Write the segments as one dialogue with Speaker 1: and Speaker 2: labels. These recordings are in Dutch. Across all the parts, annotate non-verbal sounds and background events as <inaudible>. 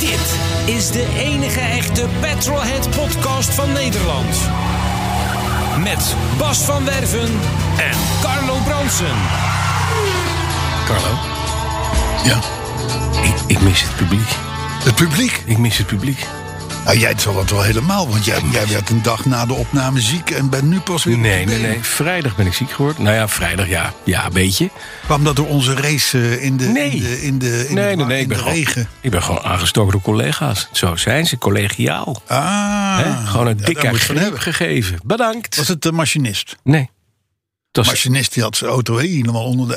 Speaker 1: Dit is de enige echte Petrolhead podcast van Nederland. Met Bas van Werven en Carlo Bronsen.
Speaker 2: Carlo. Ja.
Speaker 3: Ik, ik mis het publiek.
Speaker 2: Het publiek.
Speaker 3: Ik mis het publiek.
Speaker 2: Nou, jij zal dat wel helemaal, want jij, jij werd een dag na de opname ziek en bent nu pas weer. op
Speaker 3: Nee,
Speaker 2: je
Speaker 3: nee,
Speaker 2: benen.
Speaker 3: nee. Vrijdag ben ik ziek geworden. Nou ja, vrijdag ja. Ja, een beetje.
Speaker 2: Kwam dat door onze race eh, in de,
Speaker 3: Nee.
Speaker 2: in de, in de, in
Speaker 3: Nee,
Speaker 2: de,
Speaker 3: nee, nee.
Speaker 2: in
Speaker 3: Ik
Speaker 2: de
Speaker 3: ben, gewoon,
Speaker 2: regen?
Speaker 3: ik ben gewoon aangestoken door collega's. Zo zijn ze, collegiaal.
Speaker 2: Ah,
Speaker 3: hè? Gewoon een
Speaker 2: ja, daar
Speaker 3: dikke
Speaker 2: moet je van
Speaker 3: greep
Speaker 2: hebben.
Speaker 3: gegeven. Bedankt.
Speaker 2: Was het de machinist?
Speaker 3: Nee. Dat
Speaker 2: De
Speaker 3: was,
Speaker 2: machinist die had zijn auto helemaal onder de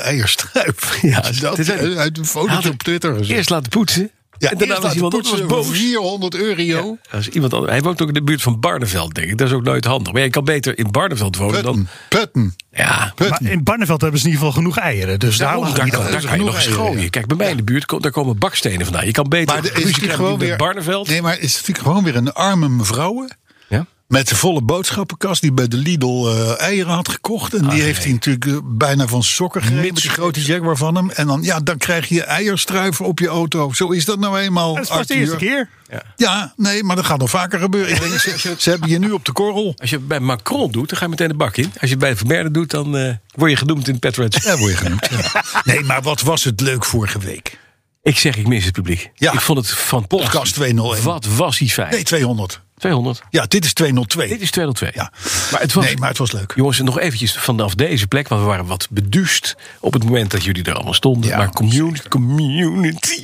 Speaker 3: <laughs>
Speaker 2: eierstruip.
Speaker 3: Ja,
Speaker 2: Als je <laughs> dat,
Speaker 3: dit is-
Speaker 2: eh, uit een
Speaker 3: Had
Speaker 2: foto
Speaker 3: ik-
Speaker 2: op Twitter gezien.
Speaker 3: eerst laten poetsen.
Speaker 2: ja,
Speaker 3: en daarna
Speaker 2: eerst
Speaker 3: was
Speaker 2: laten
Speaker 3: iemand
Speaker 2: poetsen
Speaker 3: anders boos.
Speaker 2: voor 400 euro.
Speaker 3: Ja, als iemand anders, hij woont ook in de buurt van Barneveld, denk ik. Dat is ook nooit handig. Maar je kan beter in Barneveld wonen
Speaker 2: Putten,
Speaker 3: dan...
Speaker 2: putten,
Speaker 3: Ja,
Speaker 2: putten.
Speaker 4: Maar in Barneveld hebben ze in ieder geval genoeg eieren. Dus
Speaker 2: oh,
Speaker 4: daar
Speaker 3: Daarom,
Speaker 4: lag
Speaker 3: daar
Speaker 4: het
Speaker 3: kan,
Speaker 4: niet
Speaker 3: daar
Speaker 4: aan.
Speaker 3: kan je nog eens
Speaker 2: genoeg eieren,
Speaker 3: gooien.
Speaker 2: ja.
Speaker 3: Kijk, bij mij in de buurt komt, daar komen bakstenen vandaan. Je kan beter
Speaker 2: Maar er is
Speaker 3: ruzie
Speaker 2: natuurlijk
Speaker 3: krijgen
Speaker 2: gewoon
Speaker 3: met
Speaker 2: weer-
Speaker 3: Barneveld.
Speaker 2: Nee, maar het is natuurlijk gewoon weer een arme mevrouw.
Speaker 3: Ja?
Speaker 2: Met de volle boodschappenkast die bij de Lidl eh, eieren had gekocht. En die
Speaker 3: Ah,
Speaker 2: heeft hij natuurlijk eh, bijna van zijn sokken gereden. Met die grote Jaguar van hem. En dan, ja, dan krijg je eierstruiven op je auto. Zo is dat nou eenmaal.
Speaker 4: Dat is pas de eerste
Speaker 2: Arthur.
Speaker 4: keer.
Speaker 2: Ja, nee, maar dat gaat nog vaker gebeuren. Ik denk, ze, ze- ze hebben je nu op de korrel.
Speaker 3: Als je het bij Macron doet, dan ga je meteen de bak in. Als je het bij Vermeerder doet, dan eh, word je genoemd in
Speaker 2: <laughs>
Speaker 3: Petrets.
Speaker 2: Ja, word je genoemd.
Speaker 3: <laughs>
Speaker 2: ja. Nee, maar wat was het leuk vorige week?
Speaker 3: ik zeg, ik mis het publiek.
Speaker 2: Ja.
Speaker 3: Ik vond het fantastisch.
Speaker 2: Podcast 201.
Speaker 3: Wat was die fijn.
Speaker 2: Nee, 200.
Speaker 3: 200.
Speaker 2: Ja, dit is 202.
Speaker 3: Dit is 202.
Speaker 2: Ja.
Speaker 3: Maar het was...
Speaker 2: Nee, maar het was leuk.
Speaker 3: Jongens, nog eventjes vanaf deze plek, want we waren wat beduust op het moment dat jullie er allemaal stonden.
Speaker 2: Ja,
Speaker 3: maar community, community,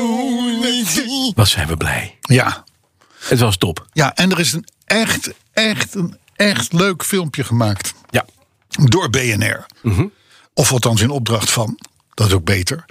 Speaker 3: community. Wat zijn we blij.
Speaker 2: Ja,
Speaker 3: Het was top.
Speaker 2: ja en er is een echt, echt, een echt leuk filmpje gemaakt.
Speaker 3: Ja.
Speaker 2: door BNR.
Speaker 3: Mhm.
Speaker 2: Of althans in opdracht van. Dat is ook beter.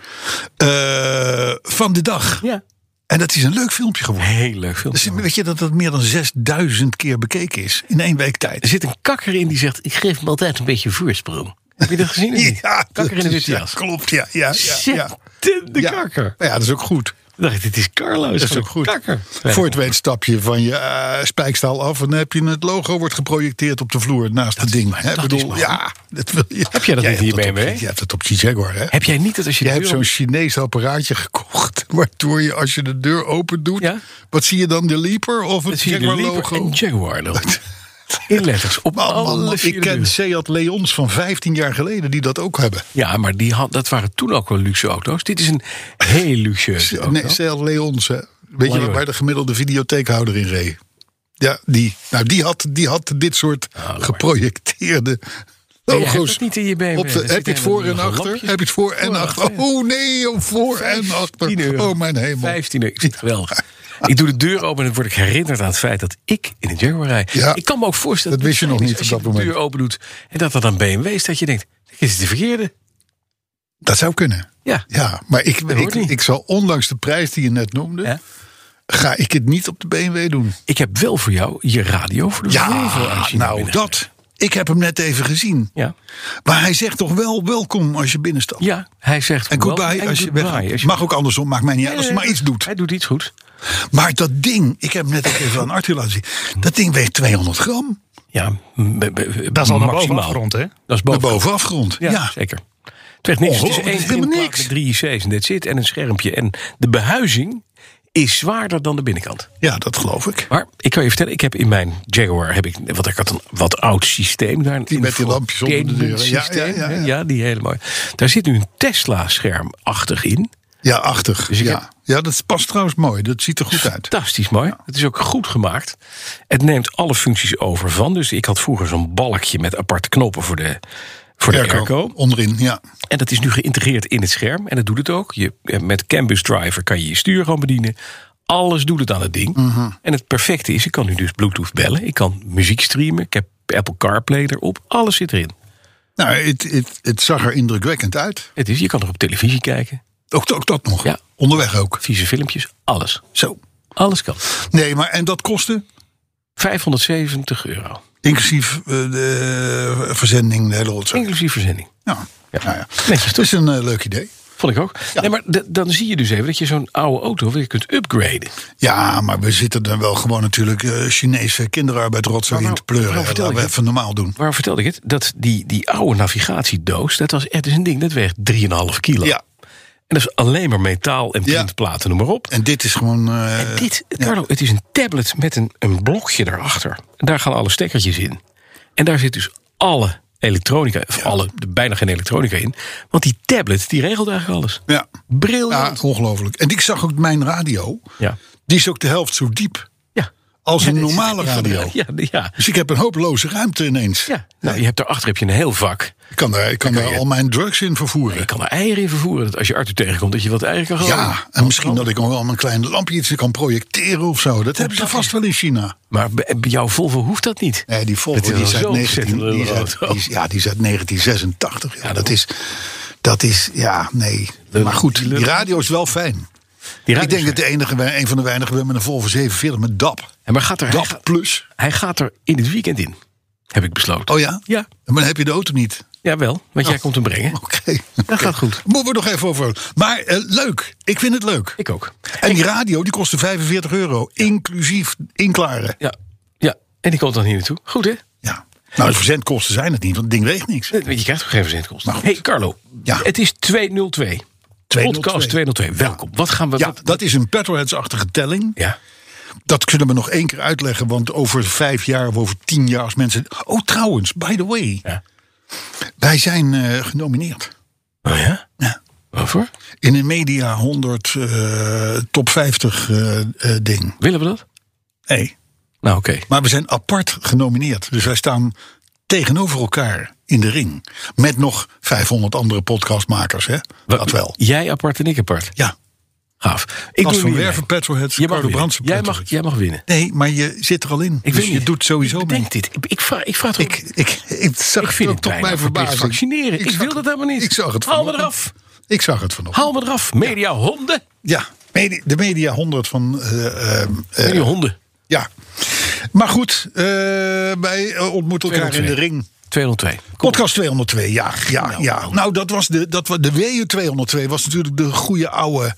Speaker 2: eh, van de dag.
Speaker 3: Ja.
Speaker 2: En dat is een leuk filmpje geworden.
Speaker 3: Heel leuk film.
Speaker 2: Dus weet je dat dat meer dan 6000 keer bekeken is in één week
Speaker 3: Er
Speaker 2: tijd?
Speaker 3: zit een kakker in die zegt: Ik geef hem altijd een beetje voorsprong. Heb je dat gezien? of niet?
Speaker 2: dat
Speaker 3: kakker in de
Speaker 2: is-
Speaker 3: witte
Speaker 2: <laughs> ja,
Speaker 3: jas.
Speaker 2: Klopt, ja. ja, ja, ja.
Speaker 3: Ontzettende
Speaker 2: Ja.
Speaker 3: kakker.
Speaker 2: Ja, dat is ook goed.
Speaker 3: Ik dacht, dit is Carlo.
Speaker 2: Dat is ook goed.
Speaker 3: Kakker.
Speaker 2: Voor het weet stap je van je eh, spijkstaal af en dan heb je het logo wordt geprojecteerd op de vloer naast het ding. hè?
Speaker 3: dat
Speaker 2: bedoel,
Speaker 3: is maar
Speaker 2: ja, dat wil je.
Speaker 3: Heb jij dat
Speaker 2: Jij
Speaker 3: niet
Speaker 2: hebt
Speaker 3: hier
Speaker 2: op-
Speaker 3: BMW?
Speaker 2: Je hebt het op je Jaguar, hè?
Speaker 3: Heb jij niet dat als je
Speaker 2: Je
Speaker 3: de
Speaker 2: hebt
Speaker 3: deur
Speaker 2: zo'n
Speaker 3: op-
Speaker 2: Chinees apparaatje gekocht. <laughs> Waardoor je als je de deur open doet.
Speaker 3: Ja.
Speaker 2: Wat zie je dan? De Leaper of
Speaker 3: dan
Speaker 2: het
Speaker 3: zie je de
Speaker 2: Jaguar
Speaker 3: Leaper en
Speaker 2: logo?
Speaker 3: Jaguar dan.
Speaker 2: <laughs>
Speaker 3: In letters. Op
Speaker 2: Man, man, man,
Speaker 3: alle vier
Speaker 2: ik
Speaker 3: de
Speaker 2: ken
Speaker 3: deuren.
Speaker 2: Seat Leons van 15 jaar geleden die dat ook hebben.
Speaker 3: Ja, maar die had, dat waren toen ook wel luxe auto's. Dit is een heel luxueuze auto.
Speaker 2: Nee, Seat Leons. Hè. Weet je
Speaker 3: Lange.
Speaker 2: waar- waar de gemiddelde videotheekhouder in reed? Ja, die. Nou, die had, die had dit soort geprojecteerde
Speaker 3: jij hebt
Speaker 2: logo's.
Speaker 3: het niet in je eh, dus BMW.
Speaker 2: Op de-
Speaker 3: Er
Speaker 2: heb je
Speaker 3: zitten
Speaker 2: het voor en
Speaker 3: helemaal nog
Speaker 2: achter?
Speaker 3: lampjes.
Speaker 2: Heb je het voor en
Speaker 3: Voor en
Speaker 2: achter?
Speaker 3: achter, ja.
Speaker 2: Oh nee, oh, voor en achter.
Speaker 3: euro.
Speaker 2: Oh mijn hemel.
Speaker 3: 15 euro. Ik vind het geweldig. Ik doe de deur open en dan word ik herinnerd aan het feit dat ik in een Jaguar rijd.
Speaker 2: Ja.
Speaker 3: ik kan me ook voorstellen
Speaker 2: Dat wist je
Speaker 3: het
Speaker 2: nog
Speaker 3: fijn
Speaker 2: niet
Speaker 3: is
Speaker 2: op
Speaker 3: als
Speaker 2: dat
Speaker 3: je de
Speaker 2: moment.
Speaker 3: deur open doet en dat dat een BMW is, dat je denkt, dit is de verkeerde.
Speaker 2: Dat zou kunnen.
Speaker 3: Ja.
Speaker 2: Ja, maar ik,
Speaker 3: Dat hoort
Speaker 2: ik,
Speaker 3: niet.
Speaker 2: ik zal ondanks de prijs die je net noemde,
Speaker 3: Ja.
Speaker 2: ga ik het niet op de BMW doen.
Speaker 3: Ik heb wel voor jou je radio voor de Volvo uit China
Speaker 2: nou
Speaker 3: binnengekregen.
Speaker 2: dat. Ik heb hem net even gezien.
Speaker 3: Ja.
Speaker 2: Maar hij zegt toch wel welkom als je binnenstapt.
Speaker 3: ja, hij zegt
Speaker 2: En goodbye
Speaker 3: wel- en
Speaker 2: als je
Speaker 3: goodbye
Speaker 2: weg.
Speaker 3: als je-
Speaker 2: Mag ook andersom, maakt mij niet uit als je maar iets doet.
Speaker 3: Hij doet iets goed.
Speaker 2: Maar dat ding, ik heb hem net ook even aan Arthur laten zien. Dat ding weegt 200 gram.
Speaker 3: Ja, m- b- b-
Speaker 4: Dat is al naar boven
Speaker 3: maximaal.
Speaker 4: afgerond, hè?
Speaker 3: Dat is
Speaker 2: Naar
Speaker 3: boven.
Speaker 2: bovenafgrond.
Speaker 3: Ja,
Speaker 2: Ja.
Speaker 3: zeker. Het werd niks. Het is
Speaker 2: Ongelooflijk,
Speaker 3: één
Speaker 2: het is helemaal
Speaker 3: printplaat
Speaker 2: niks.
Speaker 3: met drie IC's en dit zit en een schermpje. En de behuizing is zwaarder dan de binnenkant.
Speaker 2: ja, dat geloof ik.
Speaker 3: Maar ik kan je vertellen, ik heb in mijn Jaguar heb ik, want ik had een wat oud systeem daar.
Speaker 2: Die met die lampjes onder de deur, hè? Ja,
Speaker 3: systeem,
Speaker 2: ja, ja,
Speaker 3: hè?
Speaker 2: ja.
Speaker 3: die hele mooi. Daar zit nu een Tesla-scherm achtig in.
Speaker 2: Ja, achtig.
Speaker 3: Dus ik
Speaker 2: ja.
Speaker 3: heb-
Speaker 2: ja, dat past trouwens mooi. Dat ziet er goed uit.
Speaker 3: Fantastisch mooi. Het is ook goed gemaakt. Het neemt alle functies over van. Dus ik had vroeger zo'n balkje met aparte knoppen voor de, voor de airco.
Speaker 2: Onderin, ja.
Speaker 3: En dat is nu geïntegreerd in het scherm. En dat doet het ook. Je, eh, met Canvas Driver kan je je stuur gewoon bedienen. Alles doet het aan het ding. En het perfecte is, ik kan nu dus Bluetooth bellen. Ik kan muziek streamen. Ik heb Apple CarPlay erop. Alles zit erin.
Speaker 2: Nou, het, het, het zag er indrukwekkend uit.
Speaker 3: Het is, je kan er op televisie kijken,
Speaker 2: Ook, ook dat nog.
Speaker 3: Ja.
Speaker 2: Onderweg ook.
Speaker 3: vieze filmpjes, alles.
Speaker 2: Zo.
Speaker 3: Alles kan.
Speaker 2: Nee, maar en dat kostte?
Speaker 3: 570 euro,
Speaker 2: Inclusief eh, de verzending, de hele rotzooi.
Speaker 3: inclusief verzending.
Speaker 2: Ja.
Speaker 3: Ja.
Speaker 2: Nou ja.
Speaker 3: Netjes
Speaker 2: Het
Speaker 3: toch?
Speaker 2: is een eh, leuk idee.
Speaker 3: Vond ik ook. Nee, maar d- dan zie je dus even dat je zo'n oude auto weer kunt upgraden.
Speaker 2: Ja, maar we zitten dan wel gewoon natuurlijk eh, Chinese kinderarbeid rotzooi in
Speaker 3: Maar
Speaker 2: te
Speaker 3: nou-
Speaker 2: pleuren.
Speaker 3: nou vertel
Speaker 2: Laten we
Speaker 3: ik het.
Speaker 2: even normaal doen.
Speaker 3: Waarom vertelde ik het? Dat die, die oude navigatiedoos, dat was echt dus een ding, dat weegt 3,5 kilo.
Speaker 2: Ja.
Speaker 3: En dat is alleen maar metaal en
Speaker 2: Ja.
Speaker 3: printplaten, noem maar op.
Speaker 2: En dit is gewoon... eh,
Speaker 3: En dit, Carlo, het is een tablet met een, een blokje daarachter. En daar gaan alle stekkertjes in. En daar zit dus alle elektronica, of alle, bijna geen elektronica in. Want die tablet, die regelt eigenlijk alles.
Speaker 2: Ja. ja,
Speaker 3: Briljant.
Speaker 2: ongelooflijk. En ik zag ook mijn radio.
Speaker 3: Ja.
Speaker 2: Die is ook de helft zo diep
Speaker 3: ja.
Speaker 2: als
Speaker 3: Ja,
Speaker 2: een
Speaker 3: dit is-
Speaker 2: normale
Speaker 3: is-
Speaker 2: radio.
Speaker 3: Ja, ja.
Speaker 2: Dus ik heb een hopeloze ruimte ineens.
Speaker 3: ja. Nou, je hebt daarachter heb je een heel vak.
Speaker 2: Ik kan daar, ik kan daar al mijn drugs in vervoeren.
Speaker 3: Je kan er eieren in vervoeren. Dat als je Arthur tegenkomt, dat je wat eieren kan gaan.
Speaker 2: Ja, en misschien dat ik nog wel mijn klein lampje kan projecteren of zo. Dat hebben ze vast wel in China.
Speaker 3: Maar bij bij jouw Volvo hoeft dat niet.
Speaker 2: Nee, die Volvo
Speaker 3: Het is
Speaker 2: die is
Speaker 3: wel
Speaker 2: uit,
Speaker 3: zo'n
Speaker 2: 19, die is
Speaker 3: ontzettend
Speaker 2: uit-
Speaker 3: lullige
Speaker 2: die is- ja, die is uit 1986. Ja,
Speaker 3: Ja,
Speaker 2: dat is, dat is, ja, nee.
Speaker 3: Lullig,
Speaker 2: maar goed,
Speaker 3: die
Speaker 2: die
Speaker 3: lullig.
Speaker 2: radio is wel fijn.
Speaker 3: Die dus-
Speaker 2: Ik denk
Speaker 3: radio's-
Speaker 2: dat de enige, wij- een van de weinigen ben met een Volvo 47 met DAP.
Speaker 3: Ja, maar gaat er, hij,
Speaker 2: DAP
Speaker 3: gaat,
Speaker 2: Plus.
Speaker 3: hij gaat er in het weekend in. Heb ik besloten.
Speaker 2: Oh ja?
Speaker 3: Ja.
Speaker 2: Maar dan heb je de auto niet. <laughs>
Speaker 3: Jawel, want jij komt hem brengen.
Speaker 2: Oké.
Speaker 3: Dat gaat goed.
Speaker 2: Moeten we nog even over. Maar eh, leuk. Ik vind het leuk.
Speaker 3: Ik ook.
Speaker 2: En die radio die kostte 45 euro. Inclusief inklaren.
Speaker 3: Ja, ja. En die komt dan hier naartoe. Goed, hè?
Speaker 2: Ja. Nou, de verzendkosten zijn het niet, want het ding weegt niks.
Speaker 3: Eh, Want je krijgt toch geen verzendkosten.
Speaker 2: Maar Nou goed.
Speaker 3: hey, Carlo.
Speaker 2: Ja.
Speaker 3: Het is 202.
Speaker 2: 202.
Speaker 3: Podcast 202. Welkom. Wat gaan we...
Speaker 2: Ja,
Speaker 3: wat-
Speaker 2: dat is een petrolheads-achtige telling.
Speaker 3: ja.
Speaker 2: Dat kunnen we nog één keer uitleggen, want over vijf jaar of over tien jaar als mensen... Oh, trouwens, by the way,
Speaker 3: ja.
Speaker 2: wij zijn eh, genomineerd.
Speaker 3: Oh ja?
Speaker 2: Ja.
Speaker 3: Waarvoor?
Speaker 2: In een Media 100 eh, top 50 eh, eh, ding.
Speaker 3: Willen we dat?
Speaker 2: Nee,
Speaker 3: Nou, oké.
Speaker 2: maar we zijn apart genomineerd. Dus wij staan tegenover elkaar in de ring. Met nog 500 andere podcastmakers, hè? Dat wel.
Speaker 3: Jij apart en ik apart.
Speaker 2: Ja,
Speaker 3: Gaaf. Ik
Speaker 2: als
Speaker 3: doe
Speaker 2: van
Speaker 3: niet mee.
Speaker 2: Werven Petrolheads,
Speaker 3: Je mag
Speaker 2: Carlo
Speaker 3: winnen.
Speaker 2: Brandsen
Speaker 3: Jij mag,
Speaker 2: Petrolheads.
Speaker 3: jij mag winnen.
Speaker 2: Nee, maar je zit er al in.
Speaker 3: Ik
Speaker 2: dus
Speaker 3: weet
Speaker 2: je
Speaker 3: niet.
Speaker 2: doet sowieso
Speaker 3: Ik
Speaker 2: mee.
Speaker 3: denk dit. Ik, ik vraag, ik vraag toch...
Speaker 2: Ik, ik, ik zag
Speaker 3: Ik vind
Speaker 2: ook
Speaker 3: het
Speaker 2: tot
Speaker 3: bijna
Speaker 2: mijn
Speaker 3: verplicht
Speaker 2: verbazing.
Speaker 3: vaccineren. Ik
Speaker 2: zag
Speaker 3: wil
Speaker 2: het-
Speaker 3: dat helemaal niet.
Speaker 2: Ik zag het
Speaker 3: Haal me
Speaker 2: vanochtend.
Speaker 3: eraf.
Speaker 2: Ik zag het vanochtend.
Speaker 3: Haal me eraf. Media honden.
Speaker 2: Ja, medi- de Media 100 van... eh, ehm, eh,
Speaker 3: Media honden.
Speaker 2: ja. Maar goed, eh, wij eh, ontmoeten elkaar in de
Speaker 3: 202.
Speaker 2: ring.
Speaker 3: 202. Kom
Speaker 2: Podcast 202, ja. ja, ja. Nou, dat was de, dat, wa- de WU 202 was natuurlijk de goede oude,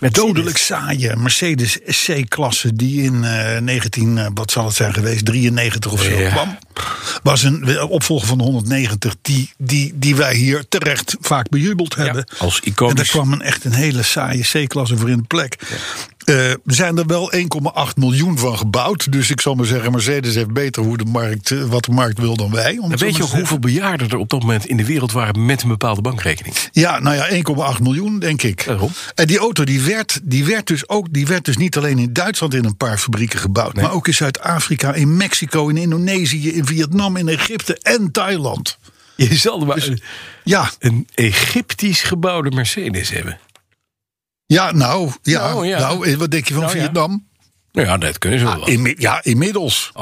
Speaker 3: Mercedes.
Speaker 2: dodelijk saaie Mercedes C-klasse... die in eh, 19, eh, wat zal het zijn geweest, 93 of zo
Speaker 3: Ja.
Speaker 2: kwam. Was een opvolger van de 190 die, die, die wij hier terecht vaak bejubeld hebben.
Speaker 3: als iconisch.
Speaker 2: En daar kwam een, echt een hele saaie C-klasse voor in de plek. Eh, er zijn er wel 1,8 miljoen van gebouwd. Dus ik zal maar zeggen, Mercedes heeft beter hoe de markt, eh, wat de markt wil dan wij. om
Speaker 3: En
Speaker 2: het zo
Speaker 3: weet
Speaker 2: maar
Speaker 3: je
Speaker 2: te
Speaker 3: ook hoeveel bejaarden er op dat moment in de wereld waren met een bepaalde bankrekening?
Speaker 2: Ja, nou ja, 1,8 miljoen, denk ik.
Speaker 3: Daarom.
Speaker 2: En die auto die werd, die werd dus ook, die werd dus niet alleen in Duitsland in een paar fabrieken gebouwd, maar ook in Zuid-Afrika, in Mexico, in Indonesië, in Vietnam, in Egypte en
Speaker 3: <laughs>
Speaker 2: Thailand.
Speaker 3: Je zal er maar
Speaker 2: Dus-
Speaker 3: een,
Speaker 2: Ja,
Speaker 3: een Egyptisch gebouwde Mercedes hebben.
Speaker 2: ja, nou, ja, nou,
Speaker 3: Nou, ja.
Speaker 2: eh, wat denk je van
Speaker 3: Nou, ja.
Speaker 2: Vietnam?
Speaker 3: Nou ja, dat kunnen ze wel. Oké.
Speaker 2: Inmi- ja, inmiddels.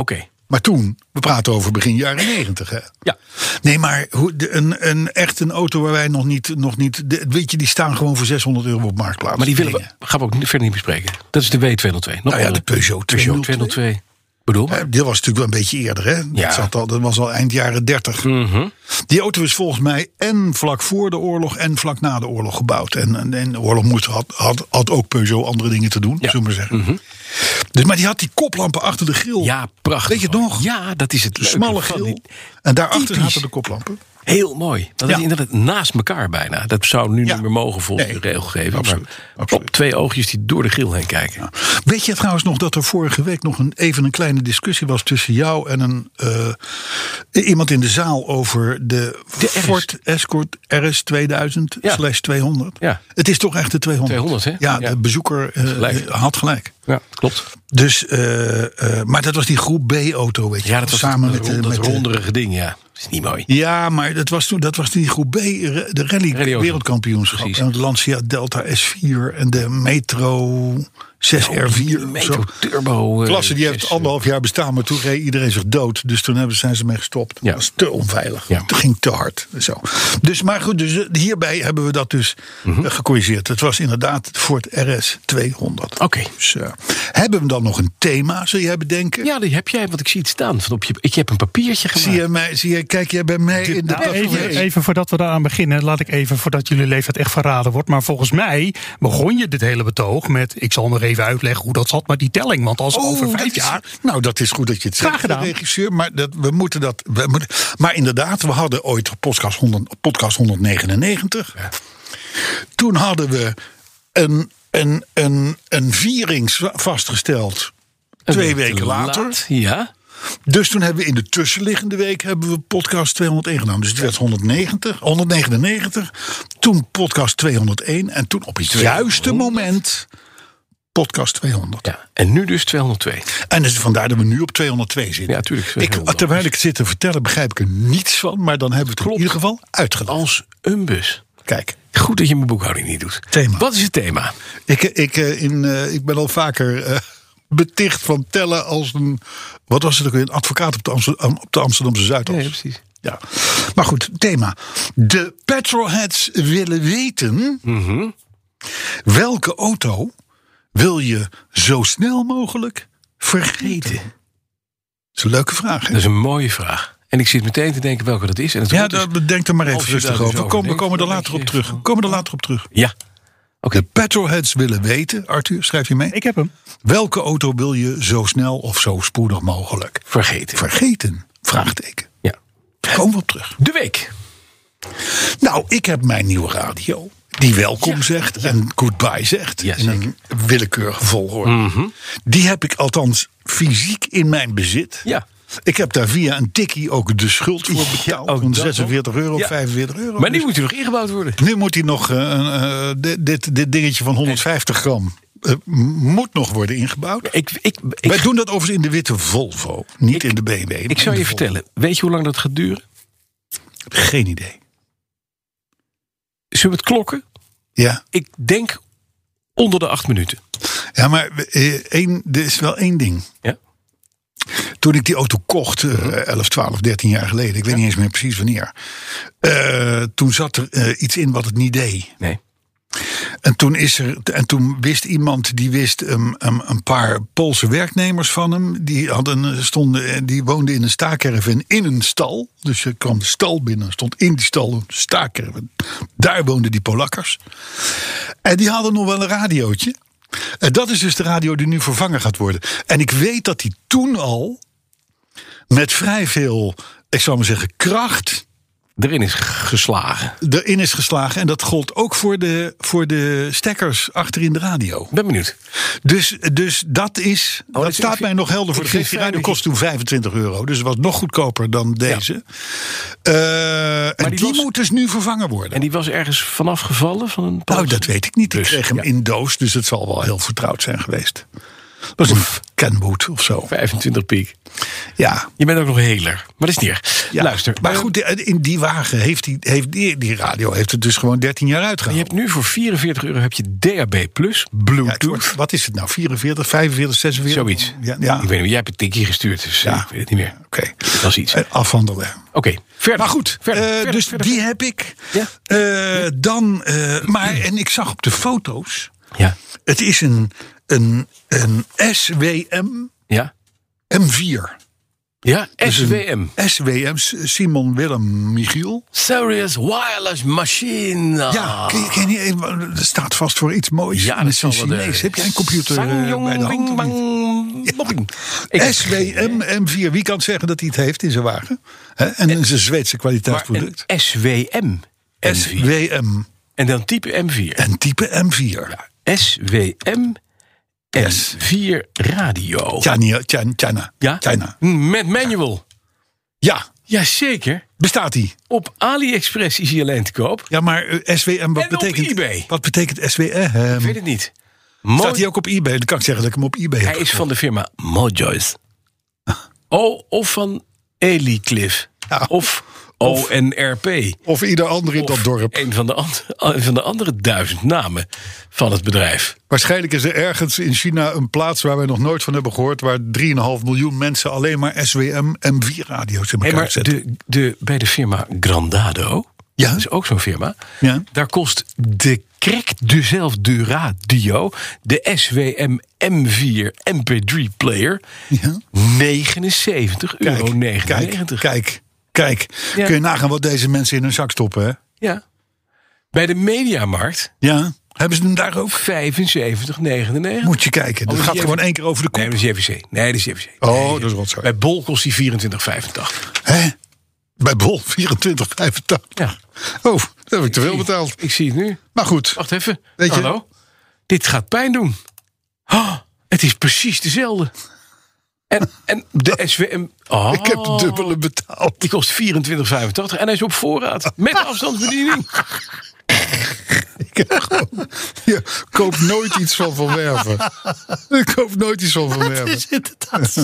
Speaker 2: Maar toen, we praten over begin jaren 90, hè?
Speaker 3: Ja.
Speaker 2: Nee, maar hoe, de, een, een, echt een auto waar wij nog niet, nog niet de, weet je, die staan gewoon voor 600 euro op marktplaats.
Speaker 3: Maar die willen
Speaker 2: Dingen.
Speaker 3: we, gaan we ook niet- verder niet bespreken. Dat is de W202. Nog
Speaker 2: Nou ja,
Speaker 3: een-
Speaker 2: de Peugeot
Speaker 3: Peugeot
Speaker 2: 202.
Speaker 3: 202. Bedoel maar.
Speaker 2: Eh, Dit was natuurlijk wel een beetje eerder, hè?
Speaker 3: Ja. Mhm.
Speaker 2: Dat, zat al, dat was al eind jaren 30. Die auto is volgens mij en vlak voor de oorlog en vlak na de oorlog gebouwd. En, en, en de oorlog moest, had, had, had ook Peugeot andere dingen te doen, zullen we maar zeggen. dus, maar die had die koplampen achter de grill.
Speaker 3: Mhm. Ja, prachtig.
Speaker 2: Weet je het nog?
Speaker 3: Ja, dat is het
Speaker 2: De
Speaker 3: leuke
Speaker 2: smalle
Speaker 3: van
Speaker 2: grill.
Speaker 3: die-
Speaker 2: En daarachter
Speaker 3: Typisch.
Speaker 2: zaten de koplampen.
Speaker 3: Heel mooi. Dat
Speaker 2: Ja.
Speaker 3: is inderdaad naast elkaar bijna. Dat zou nu
Speaker 2: Ja.
Speaker 3: niet meer mogen volgens
Speaker 2: Nee.
Speaker 3: de regelgeving.
Speaker 2: Absoluut.
Speaker 3: Maar
Speaker 2: Absoluut.
Speaker 3: op twee oogjes die door de grill heen kijken.
Speaker 2: Weet je trouwens nog dat er vorige week nog een, even een kleine discussie was tussen jou en een, eh, iemand in de zaal over de,
Speaker 3: De RS.
Speaker 2: Ford Escort RS 2000
Speaker 3: Ja.
Speaker 2: slash 200?
Speaker 3: Ja.
Speaker 2: Het is toch echt de 200?
Speaker 3: 200, hè?
Speaker 2: Ja,
Speaker 3: Ja.
Speaker 2: de bezoeker eh,
Speaker 3: Gelijk.
Speaker 2: had gelijk.
Speaker 3: Ja, klopt.
Speaker 2: Dus, eh, eh, maar dat was die groep B-auto, weet je.
Speaker 3: Ja,
Speaker 2: wel,
Speaker 3: dat was
Speaker 2: samen
Speaker 3: dat,
Speaker 2: met, de-
Speaker 3: dat
Speaker 2: met de-
Speaker 3: ronderige ding, ja. Dat is niet mooi.
Speaker 2: Ja, maar dat was, toen, dat was die groep B, eh, de rally,
Speaker 3: Rally-auto.
Speaker 2: wereldkampioenschap.
Speaker 3: Precies.
Speaker 2: En het Lancia Delta S4 en de Metro 6R4 of zo.
Speaker 3: Metro Turbo. eh,
Speaker 2: Klasse, die
Speaker 3: zes,
Speaker 2: heeft
Speaker 3: eh,
Speaker 2: anderhalf jaar bestaan, maar toen reed iedereen zich dood. Dus toen hebben, zijn ze mee gestopt.
Speaker 3: Ja.
Speaker 2: Dat was te onveilig.
Speaker 3: Ja.
Speaker 2: Het ging te hard. Zo. Dus, maar goed, dus eh, hierbij hebben we dat dus
Speaker 3: Mhm.
Speaker 2: eh, gecorrigeerd. Het was inderdaad voor het RS 200.
Speaker 3: Oké.
Speaker 2: Dus, eh, hebben we dan nog een thema, zul jij bedenken?
Speaker 3: Ja, die heb jij, want ik zie het staan. Van op je, ik heb een papiertje gemaakt.
Speaker 2: Zie je mij, zie je, kijk jij bij mij in de
Speaker 4: Nou, even,
Speaker 2: tafereel?
Speaker 4: even voordat we daaraan beginnen, laat ik even voordat jullie leeftijd echt verraden wordt. Maar volgens mij begon je dit hele betoog met: ik zal nog even uitleggen hoe dat zat met die telling. Want als
Speaker 2: Oh,
Speaker 4: over
Speaker 2: dat
Speaker 4: vijf
Speaker 2: is-
Speaker 4: jaar.
Speaker 2: nou, dat is goed dat je het
Speaker 4: Graag
Speaker 2: zegt, eh,
Speaker 4: gedaan.
Speaker 2: regisseur. Maar dat, we moeten dat. We moeten, maar inderdaad, we hadden ooit podcast, 100, podcast 199. Toen hadden we een, een, een, een viering zwa- vastgesteld.
Speaker 3: Een
Speaker 2: Twee
Speaker 3: week
Speaker 2: weken
Speaker 3: te
Speaker 2: later.
Speaker 3: laat, Ja.
Speaker 2: Dus toen hebben we in de tussenliggende week hebben we podcast 201 gedaan. Dus het werd 190, 199. Toen podcast 201. En toen op het juiste moment podcast 200.
Speaker 3: ja. En nu dus 202.
Speaker 2: En dus vandaar dat we nu op 202 zitten.
Speaker 3: Ja, dus tuurlijk.
Speaker 2: Ik, terwijl ik het zit te vertellen, begrijp ik er niets van. Maar dan hebben we het in ieder geval uitgedacht.
Speaker 3: Als een bus.
Speaker 2: Kijk,
Speaker 3: Goed dat je mijn boekhouding niet doet.
Speaker 2: Thema.
Speaker 3: Wat is het thema?
Speaker 2: ik, ik, eh, in, eh, ik ben al vaker eh, <laughs> beticht van tellen als een... Wat was het ook weer? Een advocaat op de, Amsterdam, op de Amsterdamse Zuidas.
Speaker 3: Nee, precies.
Speaker 2: Ja. Maar goed, thema. De petrolheads willen weten...
Speaker 3: Mhm.
Speaker 2: welke auto wil je zo snel mogelijk vergeten? Dat is een leuke vraag. hè?
Speaker 3: Dat is een mooie vraag. En ik zit meteen te denken welke dat is. En het
Speaker 2: Ja,
Speaker 3: goed is-
Speaker 2: dus daar bedenk er maar
Speaker 3: Als
Speaker 2: even
Speaker 3: je
Speaker 2: rustig
Speaker 3: daar dus
Speaker 2: over. We
Speaker 3: over
Speaker 2: komen, we
Speaker 3: denkt,
Speaker 2: komen er
Speaker 3: dan
Speaker 2: later
Speaker 3: denk
Speaker 2: op
Speaker 3: je
Speaker 2: terug. We komen er later op terug.
Speaker 3: ja. Oké.
Speaker 2: De petrolheads willen weten, Arthur, schrijf je mee?
Speaker 4: Ik heb hem.
Speaker 2: Welke auto wil je zo snel of zo spoedig mogelijk
Speaker 3: Vergeten.
Speaker 2: vergeten? Vraagteken.
Speaker 3: Ja.
Speaker 2: Komen we op terug.
Speaker 3: De week.
Speaker 2: Nou, ik heb mijn nieuwe radio. Die welkom
Speaker 3: Ja,
Speaker 2: zegt en goodbye zegt.
Speaker 3: Ja, Mm.
Speaker 2: in een willekeurige volgorde.
Speaker 3: Mhm.
Speaker 2: Die heb ik althans fysiek in mijn bezit.
Speaker 3: Ja.
Speaker 2: Ik heb daar via een tikkie ook de schuld voor betaald.
Speaker 3: ook
Speaker 2: van
Speaker 3: oh, dat nog.
Speaker 2: 46 euro,
Speaker 3: Ja.
Speaker 2: 45 euro.
Speaker 3: Maar nu
Speaker 2: Dus-
Speaker 3: moet hij nog ingebouwd worden.
Speaker 2: Nu moet hij nog, eh, eh, dit, dit, dit dingetje van 150 gram, eh, m- moet nog worden ingebouwd.
Speaker 3: Ik, ik, ik,
Speaker 2: Wij doen dat overigens in de witte Volvo, niet in de BMW. maar
Speaker 3: ik zou
Speaker 2: in
Speaker 3: je
Speaker 2: de Volvo.
Speaker 3: vertellen. Weet je hoe lang dat gaat duren?
Speaker 2: Geen idee.
Speaker 3: Zullen we het klokken?
Speaker 2: Ja,
Speaker 3: Ik denk onder de acht minuten.
Speaker 2: ja maar eh, één, er is wel één ding.
Speaker 3: Ja. Mhm.
Speaker 2: Toen ik die auto kocht, eh, 11, 12, 13 jaar geleden, ik weet niet eens meer precies wanneer. eh, toen zat er eh, iets in wat het niet deed.
Speaker 3: Nee.
Speaker 2: En toen, is er, en toen wist iemand, die wist ehm, ehm, een paar Poolse werknemers van hem. Die, hadden, eh, stonden, eh, die woonden in een staakerven in een stal. Dus je kwam de stal binnen, stond in die stal een staakerven. Daar woonden die Polakkers. En die hadden nog wel een radiootje. En dat is dus de radio die nu vervangen gaat worden. En ik weet dat die toen al met vrij veel, ik zou maar zeggen, kracht
Speaker 3: Erin is geslagen.
Speaker 2: erin is geslagen. En dat gold ook voor de, voor de stekkers achter in de radio.
Speaker 3: Ik ben benieuwd.
Speaker 2: Dus, dus dat is. dat
Speaker 3: Oh, dat is-
Speaker 2: staat
Speaker 3: ik-
Speaker 2: mij nog helder voor
Speaker 3: ik vind
Speaker 2: de geest. Die
Speaker 3: het fijn
Speaker 2: radio
Speaker 3: dat
Speaker 2: kost toen 25 euro. Dus het was nog goedkoper dan deze. Eh, en
Speaker 3: die
Speaker 2: die,
Speaker 3: was-
Speaker 2: moet dus nu vervangen worden.
Speaker 3: En die was ergens vanaf gevallen van een
Speaker 2: nou,
Speaker 3: post?
Speaker 2: dat weet ik niet. Ik
Speaker 3: Dus,
Speaker 2: kreeg hem
Speaker 3: ja.
Speaker 2: in doos. Dus het zal wel heel vertrouwd zijn geweest. Dat is een Kenwood of zo.
Speaker 3: 25 piek.
Speaker 2: Ja.
Speaker 3: Je bent ook nog heler. Maar dat is niet erg.
Speaker 2: ja.
Speaker 3: Luister.
Speaker 2: Maar
Speaker 3: eh,
Speaker 2: goed, in die wagen heeft die, heeft die, die radio heeft het dus gewoon 13 jaar
Speaker 3: Je
Speaker 2: uitgehaald.
Speaker 3: hebt nu voor 44 euro heb je DAB+,
Speaker 2: Ja, het
Speaker 3: Bluetooth,
Speaker 2: wordt- wat is het nou? 44, 45, 46?
Speaker 3: zoiets.
Speaker 2: Ja, ja.
Speaker 3: Ik weet niet, jij hebt een tikje gestuurd, dus eh,
Speaker 2: Ja.
Speaker 3: ik weet het niet meer.
Speaker 2: oké.
Speaker 3: Dat is iets.
Speaker 2: Eh, Afhandelen.
Speaker 3: Oké, verder.
Speaker 2: Maar goed,
Speaker 3: verder,
Speaker 2: eh,
Speaker 3: verder,
Speaker 2: dus
Speaker 3: verder.
Speaker 2: die heb ik.
Speaker 3: Ja.
Speaker 2: Eh, dan, eh, maar, en ik zag op de foto's.
Speaker 3: Ja,
Speaker 2: Het is een, een, een SWM
Speaker 3: ja,
Speaker 2: M4.
Speaker 3: ja,
Speaker 2: Dus een-
Speaker 3: SWM.
Speaker 2: SWM, S- Simon Willem Michiel.
Speaker 3: Serious Wireless Machine.
Speaker 2: Ja, ken je- ken je- eh, dat staat vast voor iets moois.
Speaker 3: Ah. Ja,
Speaker 2: En het is een
Speaker 3: zal wel de-
Speaker 2: Chinees. Heb jij een computer eh,
Speaker 3: Sangyong
Speaker 2: bij de hand?
Speaker 3: Bing
Speaker 2: of niet?
Speaker 3: Bang Bopping. Ik heb geen-
Speaker 2: SWM M4. Wie kan zeggen dat hij het heeft in zijn wagen? Hè? En in zijn Zweedse
Speaker 3: Maar een
Speaker 2: kwaliteitsproduct.
Speaker 3: SWM. M4.
Speaker 2: SWM.
Speaker 3: En dan type M4.
Speaker 2: En type M4.
Speaker 3: SWM M4 radio.
Speaker 2: China. China. China.
Speaker 3: Ja?
Speaker 2: China.
Speaker 3: Met manual.
Speaker 2: Ja,
Speaker 3: Jazeker.
Speaker 2: bestaat die.
Speaker 3: Op AliExpress is hij alleen te koop.
Speaker 2: Ja, maar eh, SWM, wat
Speaker 3: En op
Speaker 2: betekent
Speaker 3: eBay.
Speaker 2: Wat betekent
Speaker 3: Ik weet
Speaker 2: SWM?
Speaker 3: het niet. Mo-
Speaker 2: Eh, ehm, Staat hij ook op eBay? Dan kan ik zeggen dat ik hem op eBay heb.
Speaker 3: hij is van de firma Mojoys. Oh, of van Elycliff.
Speaker 2: Ja.
Speaker 3: Of ONRP.
Speaker 2: Of ieder ander in dat
Speaker 3: Of
Speaker 2: dorp.
Speaker 3: Een van, de and- een van de andere duizend namen van het bedrijf.
Speaker 2: Waarschijnlijk is er ergens in China een plaats waar wij nog nooit van hebben gehoord. waar 3,5 miljoen mensen alleen maar SWM M4-radio's in
Speaker 3: Hey,
Speaker 2: elkaar
Speaker 3: maar
Speaker 2: zetten.
Speaker 3: de, de, bij de firma Grandado,
Speaker 2: Ja.
Speaker 3: dat is ook zo'n firma,
Speaker 2: Ja.
Speaker 3: daar kost de krek dezelfde radio, de SWM M4 MP3 player,
Speaker 2: Ja.
Speaker 3: 79 euro. 99.
Speaker 2: Kijk, kijk.
Speaker 3: Ja.
Speaker 2: Kun je nagaan wat deze mensen in hun zak stoppen, hè?
Speaker 3: Ja. Bij de Mediamarkt
Speaker 2: Ja. Hebben ze hem daar ook?
Speaker 3: 75,99.
Speaker 2: Moet je kijken. Dat
Speaker 3: Anders
Speaker 2: gaat
Speaker 3: Oh, die
Speaker 2: gewoon
Speaker 3: even-
Speaker 2: één keer over de kop.
Speaker 3: Nee, dat is JVC. Nee, dat is JVC.
Speaker 2: Oh,
Speaker 3: Nee,
Speaker 2: dat is rotzooi.
Speaker 3: Bij Bol kost die 24,85.
Speaker 2: Hè? Bij Bol 24,85.
Speaker 3: Ja.
Speaker 2: Oh, dat heb ik te veel betaald.
Speaker 3: Ik zie het nu.
Speaker 2: Maar goed.
Speaker 3: Wacht even.
Speaker 2: Weet je-
Speaker 3: Hallo? Dit gaat pijn doen. Oh, het is precies dezelfde. En, en de SWM... Oh,
Speaker 2: Ik heb de dubbele betaald.
Speaker 3: Die kost 24,85 en hij is op voorraad. Met afstandsbediening.
Speaker 2: Ik heb gewoon- Je koopt nooit iets van Van Werven. Ik koop nooit iets van Van Werven.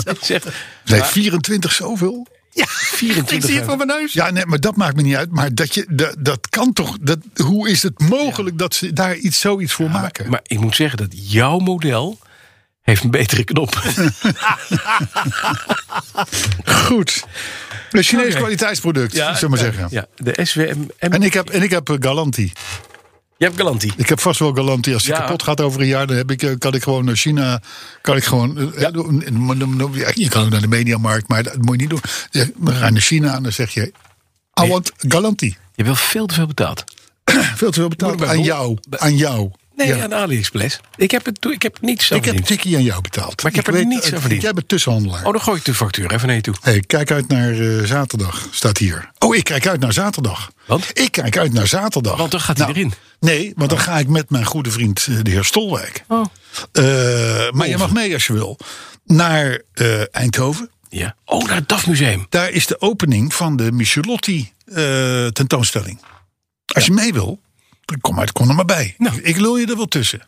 Speaker 3: Ik zeg
Speaker 2: Nee, 24 zoveel?
Speaker 3: 24.
Speaker 4: mijn neus.
Speaker 2: Ja, nee, maar dat maakt me niet uit. Maar dat, je, dat, dat kan toch... Dat, hoe is het mogelijk dat ze daar iets, zoiets voor maken?
Speaker 3: Maar ik moet zeggen dat jouw model heeft een betere
Speaker 2: <laughs>
Speaker 3: knop.
Speaker 2: Goed. Een Chinees
Speaker 3: Oké.
Speaker 2: kwaliteitsproduct, zullen we maar zeggen.
Speaker 3: Ja, de SWM...
Speaker 2: En ik heb, en ik heb eh, Galanti.
Speaker 3: Je hebt Galanti.
Speaker 2: Ik heb vast wel Galanti. Als die
Speaker 3: Ja.
Speaker 2: kapot gaat over een jaar, dan heb ik, eh, kan ik gewoon naar China. Kan ik gewoon. eh, eh, doen. En dan- dan- dan- ja, Je kan ook naar de mediamarkt, maar dat moet je niet doen. Ja, We gaan naar China en dan zeg je. I want Galanti.
Speaker 3: Je hebt wel veel te veel betaald.
Speaker 2: Veel te veel betaald.
Speaker 3: bij
Speaker 2: Aan
Speaker 3: Bol-
Speaker 2: jou. Aan jou.
Speaker 3: Nee,
Speaker 2: Ja.
Speaker 3: aan AliExpress. Ik heb, het, ik heb niets aan
Speaker 2: Ik heb een tikkie aan jou betaald.
Speaker 3: Maar ik heb er
Speaker 2: weet
Speaker 3: niets aan
Speaker 2: het.
Speaker 3: verdiend.
Speaker 2: Jij bent tussenhandelaar.
Speaker 3: Oh, dan gooi ik de factuur even naar je toe.
Speaker 2: Hey, kijk uit naar eh, zaterdag, staat hier. Oh, ik kijk uit naar zaterdag.
Speaker 3: Want?
Speaker 2: Ik kijk uit naar zaterdag. Nou,
Speaker 3: Want dan gaat hij erin.
Speaker 2: Nee, want dan ga ik met mijn goede vriend, eh, de heer Stolwijk.
Speaker 3: Oh.
Speaker 2: Eh, maar je mag mee als je wil. Naar eh, Eindhoven.
Speaker 3: Ja. Oh, naar het DAF-museum.
Speaker 2: Daar is de opening van de Michelotti eh, tentoonstelling. Als je mee wil, dan kom, uit, kom er maar bij.
Speaker 3: Nou.
Speaker 2: Ik lul je er wel tussen.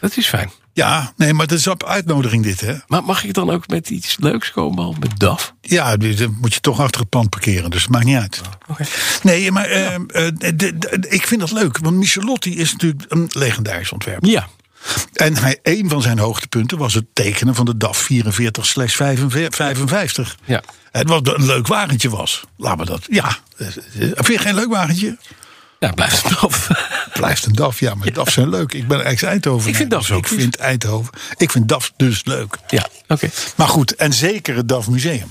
Speaker 3: Dat is fijn.
Speaker 2: Ja, nee, maar dat is op uitnodiging dit, hè?
Speaker 3: Maar mag ik dan ook met iets leuks komen, behalve met DAF?
Speaker 2: Ja, dus dan moet je toch achter het pand parkeren, dus het maakt niet uit.
Speaker 3: Oké.
Speaker 2: Nee, maar eh, eh, de- de- de- ik vind dat leuk, want Michelotti is natuurlijk een legendarisch ontwerper.
Speaker 3: Ja.
Speaker 2: En hij, een van zijn hoogtepunten was het tekenen van de DAF 44-55.
Speaker 3: Ja.
Speaker 2: Het was een leuk wagentje was. Laat me dat. Ja. eh, eh, Vind je geen leuk wagentje?
Speaker 3: Ja, blijft het <laughs> DAF.
Speaker 2: Blijft een DAF. Ja, maar DAF zijn leuk. Ik ben ex-Eindhoven.
Speaker 3: Ik vind DAF ook
Speaker 2: Ik
Speaker 3: goed.
Speaker 2: dus vind Eindhoven. Ik vind DAF dus leuk.
Speaker 3: ja, oké.
Speaker 2: Maar goed, en zeker het DAF Museum.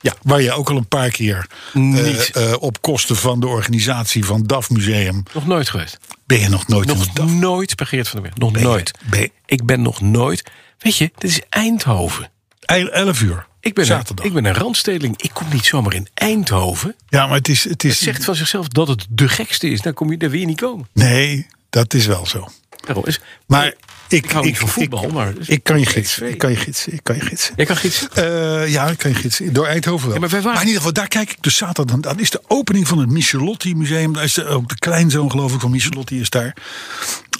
Speaker 2: Ja, waar je ook al een paar keer eh,
Speaker 3: Niet.
Speaker 2: eh, op kosten van de organisatie van DAF Museum
Speaker 3: Nog nooit geweest.
Speaker 2: ben je nog nooit in het
Speaker 3: Nog
Speaker 2: DAF.
Speaker 3: nooit bij Geert van der Meer. Nog
Speaker 2: je-
Speaker 3: nooit.
Speaker 2: ben je-
Speaker 3: Ik ben nog nooit... Weet je, dit is Eindhoven.
Speaker 2: El- 11 uur.
Speaker 3: Ik ben,
Speaker 2: zaterdag.
Speaker 3: Een, ik ben een randstedeling. Ik kom niet zomaar in Eindhoven.
Speaker 2: Ja, maar het is. Het
Speaker 3: Het
Speaker 2: is
Speaker 3: zegt van zichzelf dat het de gekste is. Dan kom je, daar wil je niet komen.
Speaker 2: Nee, dat is wel zo.
Speaker 3: Daarom is,
Speaker 2: Maar ik,
Speaker 3: hou niet van voetbal, maar-
Speaker 2: ik kan je gidsen. Ik kan je gidsen. Ik kan je gidsen.
Speaker 3: Jij kan gidsen?
Speaker 2: Eh, ja, ik kan je gidsen. Door Eindhoven wel.
Speaker 3: Ja, maar wij waren-
Speaker 2: in ieder geval, daar kijk ik dus zaterdag. Dan is de opening van het Michelotti Museum. Daar is de, ook de kleinzoon, geloof ik, van Michelotti is daar.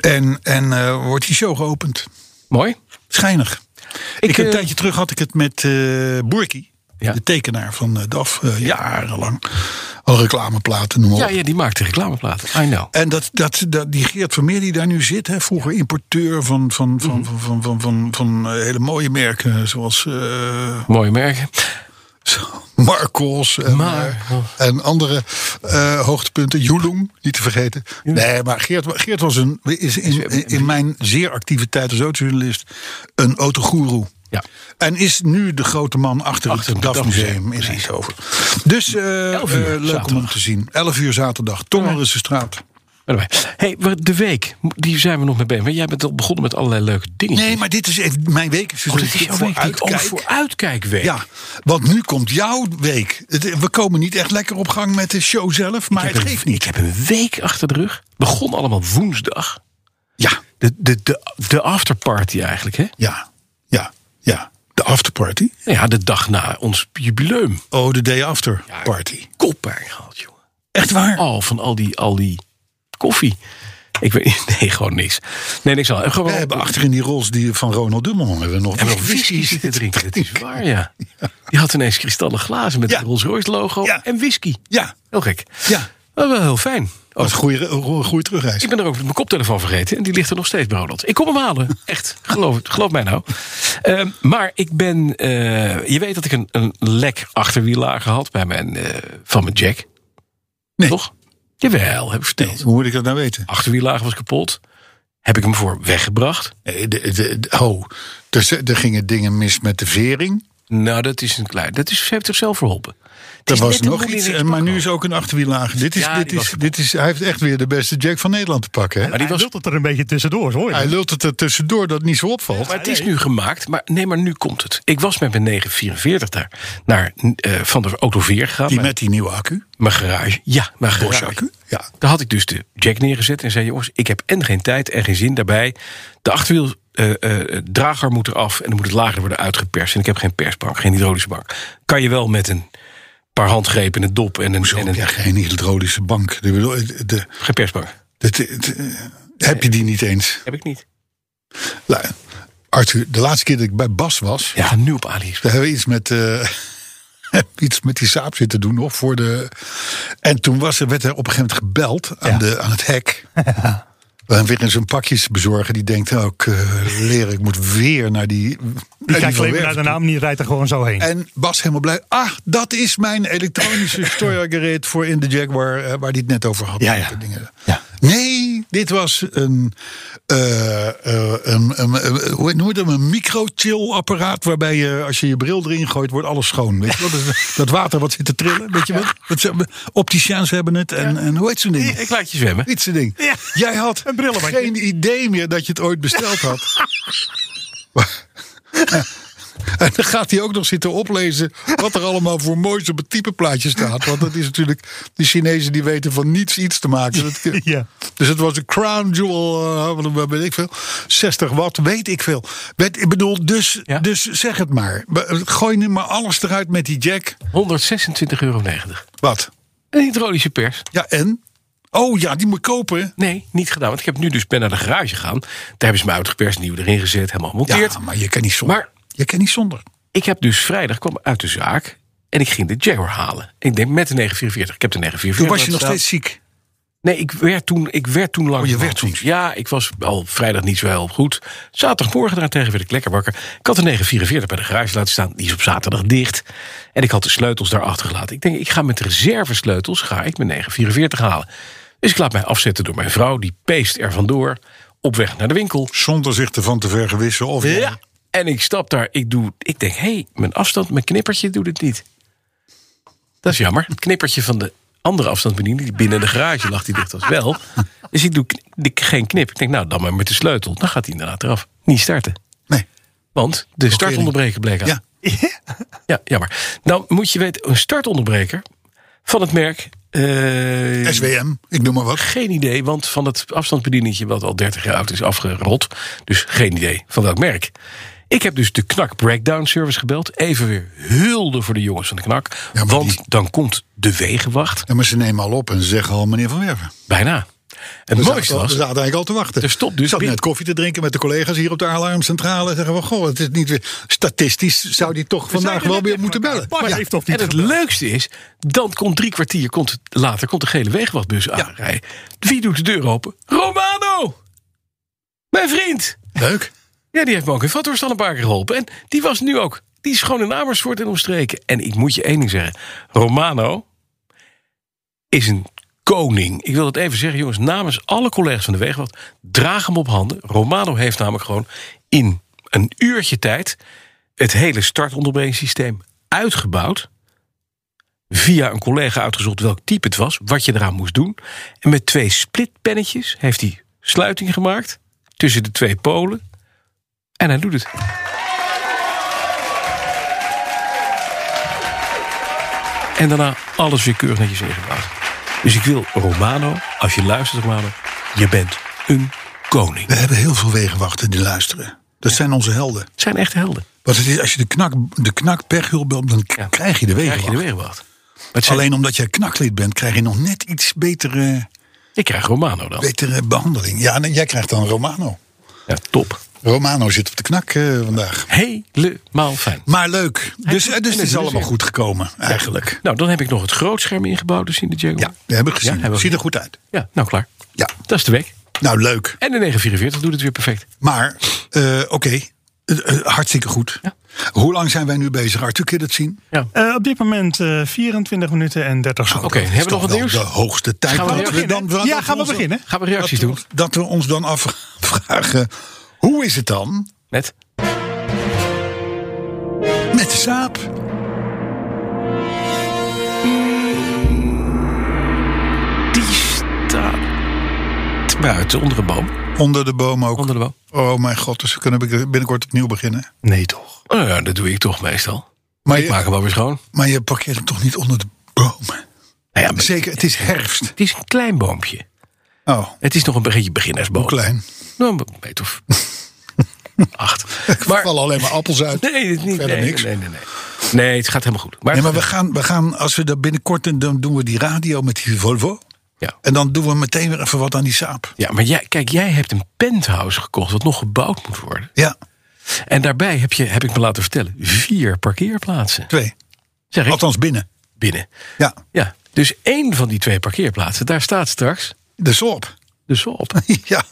Speaker 2: En, en eh, wordt die show geopend.
Speaker 3: Mooi.
Speaker 2: Schijnig. Ik, heb een
Speaker 3: eh,
Speaker 2: tijdje terug had ik het met eh Boerki.
Speaker 3: Ja.
Speaker 2: De tekenaar van eh, DAF. eh, jarenlang. Al reclameplaten, noem maar
Speaker 3: Ja,
Speaker 2: op.
Speaker 3: ja, die maakt de reclameplaten. I know.
Speaker 2: En dat, dat, dat, die Geert Vermeer die daar nu zit, hè, vroeger importeur van, van,
Speaker 3: Mhm.
Speaker 2: van, van, van, van, van, van, eh, hele mooie merken zoals eh, <laughs>
Speaker 3: Mooie merken.
Speaker 2: Marcos en,
Speaker 3: Maar- Oh.
Speaker 2: eh, en andere eh, hoogtepunten, Joelung, niet te vergeten. Nee, maar Geert, wa- Geert was een, is in, in- in mijn zeer actieve tijd als autojournalist een autogoeroe.
Speaker 3: Ja.
Speaker 2: En is nu de grote man achter,
Speaker 3: Achter
Speaker 2: het
Speaker 3: het
Speaker 2: DAF Museum
Speaker 3: DAF-museum,
Speaker 2: in Eindhoven. Dus eh,
Speaker 3: Elf uur
Speaker 2: eh, leuk om hem
Speaker 3: zaterdag.
Speaker 2: te zien. 11 uur zaterdag, Tongerense straat.
Speaker 3: Hé, hey, maar de week, die zijn we nog mee bezig. Maar jij bent al begonnen met allerlei leuke dingen.
Speaker 2: Nee, maar dit is even mijn week. Dus
Speaker 3: oh, dit is jouw week. die ik ook voor uitkijkweek.
Speaker 2: Ja, want nu komt jouw week. Het- eh, We komen niet echt lekker op gang met de show zelf, maar
Speaker 3: Ik heb
Speaker 2: het
Speaker 3: een-
Speaker 2: geeft niet.
Speaker 3: Ik heb een week achter de rug. Begon allemaal woensdag.
Speaker 2: Ja,
Speaker 3: De, de, de, de afterparty eigenlijk, hè?
Speaker 2: ja, ja, ja. De afterparty.
Speaker 3: Nou Ja, de dag na ons jubileum.
Speaker 2: Oh, de day after party.
Speaker 3: Koppijn gehad, jongen.
Speaker 2: Echt waar?
Speaker 3: Al van al die, al die koffie. Ik weet, <laughs> nee, gewoon niks. Nee, niks al. Gewoon,
Speaker 2: We hebben achter in die rols die van Ronald Dummel hebben we nog.
Speaker 3: En nog <laughs> whisky zitten drinken. Dat is waar, ja. Die had ineens kristallen glazen met
Speaker 2: Ja.
Speaker 3: het Rolls Royce logo
Speaker 2: Ja.
Speaker 3: en whisky.
Speaker 2: Ja,
Speaker 3: Heel gek.
Speaker 2: ja.
Speaker 3: Maar wel heel fijn. Oh,
Speaker 2: Wat een goede, goede terugreis.
Speaker 3: ik ben er ook mijn koptelefoon vergeten. En die ligt er nog steeds bij Ronald. Ik kom hem
Speaker 2: <laughs>
Speaker 3: halen. Echt. Geloof, het, geloof mij nou. Ehm, maar ik ben... eh, je weet dat ik een, een lek achterwielager had bij mijn, eh, van mijn jack.
Speaker 2: Nee.
Speaker 3: Toch? Jawel, heb ik verteld.
Speaker 2: Hoe moet ik dat nou weten?
Speaker 3: Achterwielager was kapot. Heb ik hem voor weggebracht.
Speaker 2: Eh, de- de- de- oh, dus eh, er gingen dingen mis met de vering.
Speaker 3: Nou, dat is een klein... Dat is, ze heeft zichzelf verholpen. Het
Speaker 2: Er
Speaker 3: is
Speaker 2: was
Speaker 3: net een
Speaker 2: nog
Speaker 3: moeder in
Speaker 2: iets,
Speaker 3: het
Speaker 2: eh, maar
Speaker 3: pak
Speaker 2: nu is ook een achterwielager. Dit is,
Speaker 3: Ja,
Speaker 2: dit
Speaker 3: die
Speaker 2: is,
Speaker 3: was-
Speaker 2: dit is, hij heeft echt weer de beste Jack van Nederland te pakken. Hè?
Speaker 3: Maar die
Speaker 4: Hij
Speaker 3: was
Speaker 4: lult het er een beetje tussendoor, hoor je.
Speaker 2: Hij lult het er tussendoor dat het niet zo opvalt.
Speaker 3: Maar het is nu gemaakt. Maar nee, maar nu komt het. Ik was met mijn 944 daar naar eh, van de Autoveer gegaan.
Speaker 2: Die
Speaker 3: mijn,
Speaker 2: met die nieuwe accu.
Speaker 3: mijn garage. Ja, mijn
Speaker 2: Bosch
Speaker 3: garage.
Speaker 2: accu. Ja.
Speaker 3: Daar had ik dus de jack neergezet en zei: jongens, ik heb en geen tijd en geen zin daarbij. De achterwiel. eh, eh, drager moet eraf en dan moet het lager worden uitgeperst. En ik heb geen persbank, geen hydraulische bank. Kan je wel met een paar handgrepen, een dop en een,
Speaker 2: Zo
Speaker 3: en
Speaker 2: heb
Speaker 3: een
Speaker 2: jij geen hydraulische bank. Ik bedoel, eh, de- de-
Speaker 3: geen persbank?
Speaker 2: de- de- de- heb je die niet eens?
Speaker 3: Heb ik niet.
Speaker 2: Nou, Arthur, de laatste keer dat ik bij Bas was,
Speaker 3: Ja, nu op AliExpress.
Speaker 2: Daar hebben we iets met, eh, <laughs> iets met die saap zitten doen nog voor de. En toen was er, werd er op een gegeven moment gebeld aan, de, aan het
Speaker 4: <laughs>
Speaker 2: hek. We weer eens een pakjesbezorger die denkt: oh, ik, eh, leren, ik moet weer naar die. naar
Speaker 4: Die
Speaker 2: die
Speaker 4: kijkt alleen maar naar
Speaker 2: verwerf
Speaker 4: de
Speaker 2: toe."
Speaker 4: naam en die rijdt er gewoon zo heen.
Speaker 2: En Bas helemaal blij. Ah, dat is mijn elektronische
Speaker 4: <laughs>
Speaker 2: steuergereed voor in de Jaguar, eh, waar die het net over had.
Speaker 3: Ja, ja.
Speaker 2: Dingen.
Speaker 3: Ja.
Speaker 2: Nee, dit was een, eh, eh, een, een, een- hoe noem je dat? Een microchill-apparaat waarbij je, als je je bril erin gooit, wordt alles schoon. Weet je wel? Dat, dat water wat zit te trillen, weet je wat? Dat ze, opticians hebben het en, en hoe heet zo'n ding?
Speaker 3: Ik laat je zwemmen.
Speaker 2: Dit soort ding.
Speaker 4: Ja.
Speaker 2: Jij had
Speaker 4: Een brillenkje.
Speaker 2: geen idee meer dat je het ooit besteld had.
Speaker 4: <laughs>
Speaker 2: En dan gaat hij ook nog zitten oplezen wat er allemaal voor moois op het typeplaatje staat. Want dat is natuurlijk, die Chinezen die weten van niets iets te maken. Dat-
Speaker 4: <laughs> Ja.
Speaker 2: Dus het was een crown jewel, eh, wat- wat weet ik veel. 60 watt, weet ik veel. Weet- ik bedoel, dus,
Speaker 3: Ja.
Speaker 2: dus zeg het maar. Be- Gooi nu maar alles eruit met die jack.
Speaker 3: 126,90 euro.
Speaker 2: Wat?
Speaker 3: Een hydraulische pers.
Speaker 2: Ja, en? Oh ja, die moet ik kopen.
Speaker 3: Nee, niet gedaan. Want ik heb nu dus ben naar de garage gegaan. Daar hebben ze me uitgeperst, nieuw erin gezet, helemaal gemonteerd.
Speaker 2: Ja, maar je kan niet zonder.
Speaker 3: Maar-
Speaker 2: je kan niet zonder.
Speaker 3: Ik heb dus vrijdag kwam uit de zaak en ik ging de Jaguar halen. Ik denk met de 944. Ik heb de 944.
Speaker 2: Toen was je nog
Speaker 3: laten
Speaker 2: steeds ziek.
Speaker 3: staan. Nee, ik werd toen, ik werd toen lang.
Speaker 2: Oh, je werd toen ziek.
Speaker 3: Ja, ik was al vrijdag niet zo heel goed. Zaterdagmorgen daartegen werd ik lekker wakker. Ik had de 944 bij de garage laten staan. Die is op zaterdag dicht. En ik had de sleutels daar achtergelaten. Ik denk, ik ga met de reservesleutels ga ik mijn 944 halen. Dus ik laat mij afzetten door mijn vrouw. Die peest er vandoor op weg naar de winkel.
Speaker 2: Zonder zich ervan te vergewissen. Of
Speaker 3: Ja. En ik stap daar, ik doe, ik denk, hé, hey, mijn afstand, mijn knippertje doet het niet. Dat is jammer. Het knippertje van de andere afstandsbediening, die binnen de garage lag, die dicht was wel. Dus ik doe kn- de- geen knip. Ik denk, nou, dan maar met de sleutel. Dan gaat hij inderdaad eraf. Niet starten.
Speaker 2: Nee.
Speaker 3: Want de start onderbreken bleek aan.
Speaker 2: Ja.
Speaker 3: Ja, jammer. Nou moet je weten, een startonderbreker van het merk... eh,
Speaker 2: SWM, ik noem maar wat.
Speaker 3: geen idee, want van het afstandsbedieningetje wat al 30 jaar oud is afgerot. Dus geen idee van welk merk. Ik heb dus de Knak Breakdown Service gebeld. Even weer hulde voor de jongens van de Knak.
Speaker 2: maar
Speaker 3: want
Speaker 2: die-
Speaker 3: dan komt de wegenwacht.
Speaker 2: Ja, maar ze nemen al op en ze zeggen al meneer Van Werven.
Speaker 3: Bijna. Het
Speaker 2: We
Speaker 3: mooiste
Speaker 2: zaten, al- we
Speaker 3: was...
Speaker 2: zaten eigenlijk al te wachten.
Speaker 3: Er stopt dus
Speaker 2: Ik zat
Speaker 3: binnen-
Speaker 2: net koffie te drinken met de collega's hier op de alarmcentrale. En zeggen we, goh, het is niet weer... Statistisch zou die toch vandaag wel weer moeten bellen.
Speaker 4: Bart
Speaker 2: Maar ja,
Speaker 4: heeft toch
Speaker 3: En
Speaker 4: niet
Speaker 3: het leukste is, dan komt drie kwartier komt het- later komt de gele wegenwachtbus aanrijden. Wie doet de deur open? Romano! Mijn vriend!
Speaker 2: leuk.
Speaker 3: Ja, die heeft me ook in Vathorst al een paar keer geholpen. En die was nu ook. Die is gewoon in Amersfoort en omstreken. En ik moet je één ding zeggen. Romano is een koning. Ik wil het even zeggen, jongens. Namens alle collega's van de Wegenwacht. Draag hem op handen. Romano heeft namelijk gewoon in een uurtje tijd... het hele startonderbrekingssysteem uitgebouwd. Via een collega uitgezocht welk type het was. Wat je eraan moest doen. En met twee splitpennetjes heeft hij sluiting gemaakt. Tussen de twee polen. En hij doet het. En daarna alles weer keurig netjes ingebouwd. Dus ik wil Romano, als je luistert Romano, je bent een koning.
Speaker 2: We hebben heel veel wegenwachten die luisteren. Dat zijn onze helden.
Speaker 3: Het zijn echte helden.
Speaker 2: Want het is, als je de knak, de knak pechhulp belt, dan k-
Speaker 3: Ja.
Speaker 2: krijg je de
Speaker 3: Krijg je de
Speaker 2: wegenwacht.
Speaker 3: wegenwacht. Maar het zijn-
Speaker 2: Alleen omdat jij knaklid bent, krijg je nog net iets betere...
Speaker 5: Ik krijg Romano dan.
Speaker 2: Betere behandeling. Ja, en jij krijgt dan Romano.
Speaker 5: Ja, top.
Speaker 2: Romano zit op de knak eh, vandaag.
Speaker 5: Helemaal fijn.
Speaker 2: Maar leuk. Dus, dus het
Speaker 5: het is
Speaker 2: is allemaal
Speaker 5: weer.
Speaker 2: goed gekomen, eigenlijk.
Speaker 5: Nou, dan heb ik nog het grootscherm ingebouwd dus in de Jaguar.
Speaker 2: Ja, we hebben gezien.
Speaker 5: Ja, hebben we
Speaker 2: Ziet er goed uit.
Speaker 5: Ja, nou klaar.
Speaker 2: Ja,
Speaker 5: Dat is de weg.
Speaker 2: nou leuk.
Speaker 5: En de 944 doet het weer perfect.
Speaker 2: Maar, eh, oké. Eh, eh, hartstikke goed.
Speaker 5: Ja.
Speaker 2: Hoe lang zijn wij nu bezig? Arthur, kun je dat zien?
Speaker 4: Eh, op dit moment eh, 24 minuten en 30 seconden.
Speaker 5: Oké, hebben we nog
Speaker 2: Toch
Speaker 5: wat
Speaker 2: wel
Speaker 5: nieuws?
Speaker 2: de hoogste tijd
Speaker 5: Gaan we
Speaker 2: dat Ah, we
Speaker 5: beginnen?
Speaker 2: dan... dat
Speaker 4: Ja, gaan we
Speaker 2: ons-
Speaker 4: beginnen.
Speaker 5: Gaan we reacties doen?
Speaker 2: Dat we ons dan afvragen... Hoe is het dan
Speaker 5: Net.
Speaker 2: met de saap?
Speaker 5: Die staat buiten onder een boom.
Speaker 2: Onder de boom ook.
Speaker 5: Onder de boom.
Speaker 2: Oh mijn god, dus we kunnen binnenkort opnieuw beginnen.
Speaker 4: Nee, toch?
Speaker 5: Oh ja, dat doe ik toch meestal.
Speaker 2: Maar
Speaker 5: Ik maak
Speaker 2: je,
Speaker 5: hem wel weer schoon.
Speaker 2: maar je parkeert hem toch niet onder de bomen?
Speaker 5: Nou ja, maar
Speaker 2: Zeker, het is herfst.
Speaker 5: het is een klein boompje.
Speaker 2: Oh,
Speaker 5: Het is nog een beetje beginnersboom.
Speaker 2: hoe klein.
Speaker 5: Nou, een beetje of <laughs>
Speaker 2: <laughs>
Speaker 5: acht.
Speaker 2: Er vallen alleen maar appels uit.
Speaker 5: Nee, het niet.
Speaker 2: Verder
Speaker 5: Nee,
Speaker 2: niks.
Speaker 5: nee, nee, nee. Nee, het gaat helemaal goed. Maar,
Speaker 2: <laughs> Nee, maar we gaan, we gaan, als we dat binnenkort, dan doen we die radio met die Volvo.
Speaker 5: ja.
Speaker 2: En dan doen we meteen weer even wat aan die saap.
Speaker 5: ja, maar jij, kijk, jij hebt een penthouse gekocht wat nog gebouwd moet worden.
Speaker 2: Ja,
Speaker 5: En daarbij heb je, heb ik me laten vertellen, vier parkeerplaatsen.
Speaker 2: twee.
Speaker 5: Zeg ik,
Speaker 2: Althans binnen.
Speaker 5: binnen.
Speaker 2: Ja,
Speaker 5: Ja, dus één van die twee parkeerplaatsen, daar staat straks
Speaker 2: de sop.
Speaker 5: de SOP.
Speaker 2: <laughs> Ja,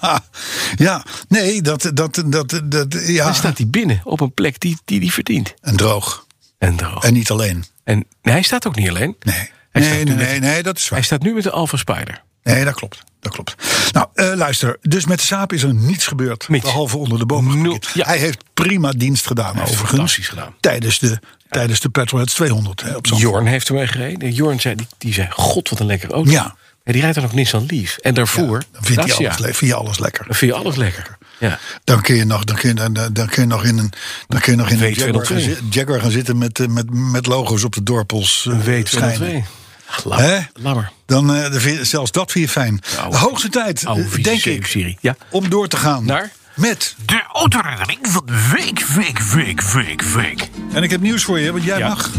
Speaker 2: ja. nee, dat, dat, dat, dat,
Speaker 5: Dan
Speaker 2: ja.
Speaker 5: staat hij binnen op een plek die die, die verdient.
Speaker 2: En droog.
Speaker 5: En droog.
Speaker 2: En niet alleen.
Speaker 5: En nee, hij staat ook niet alleen.
Speaker 2: Nee,
Speaker 5: Hij staat nu
Speaker 2: nee, nee,
Speaker 5: met-
Speaker 2: nee, nee, dat is waar.
Speaker 5: Hij staat nu met de Alfa Spider.
Speaker 2: Nee, dat klopt. Dat klopt. Nou, eh, luister. Dus met de saap is er niets gebeurd.
Speaker 5: Niets.
Speaker 2: Behalve onder de bomen.
Speaker 5: Nul,
Speaker 2: geparkeerd.
Speaker 5: ja.
Speaker 2: Hij heeft prima dienst gedaan,
Speaker 5: heeft
Speaker 2: overigens.
Speaker 5: fantastisch gedaan.
Speaker 2: Tijdens de, tijdens de Petrolheads 200. Hè, op zondag.
Speaker 5: Jorn heeft ermee gereden. Jorn zei, die, die zei, god wat een lekkere auto.
Speaker 2: Ja.
Speaker 5: En die rijdt dan ook Nissan Leaf. En daarvoor,
Speaker 2: Dan vindt hij
Speaker 5: Dacia.
Speaker 2: alles, le- vind je alles lekker.
Speaker 5: Dan vind je alles lekker. Ja.
Speaker 2: Dan kun je nog, dan kun je, dan, dan- dan kun je nog in een, dan kun je nog in een Jaguar, gaan,
Speaker 5: W202.
Speaker 2: zi- Jaguar gaan zitten met, eh, met, met logo's op de dorpels. eh, schijnen.
Speaker 5: Ach, laat,
Speaker 2: Hè?
Speaker 5: maar. laat maar.
Speaker 2: Dan eh, dan vind je zelfs dat vind je fijn.
Speaker 5: Nou,
Speaker 2: de hoogste tijd,
Speaker 5: oude
Speaker 2: eh,
Speaker 5: vieze
Speaker 2: denk
Speaker 5: zeep,
Speaker 2: ik,
Speaker 5: Siri. Ja.
Speaker 2: om door te gaan
Speaker 5: Naar?
Speaker 2: met.
Speaker 3: De autoherinnering van de week, week, week, week, week.
Speaker 2: En ik heb nieuws voor je, want jij
Speaker 5: Ja.
Speaker 2: mag.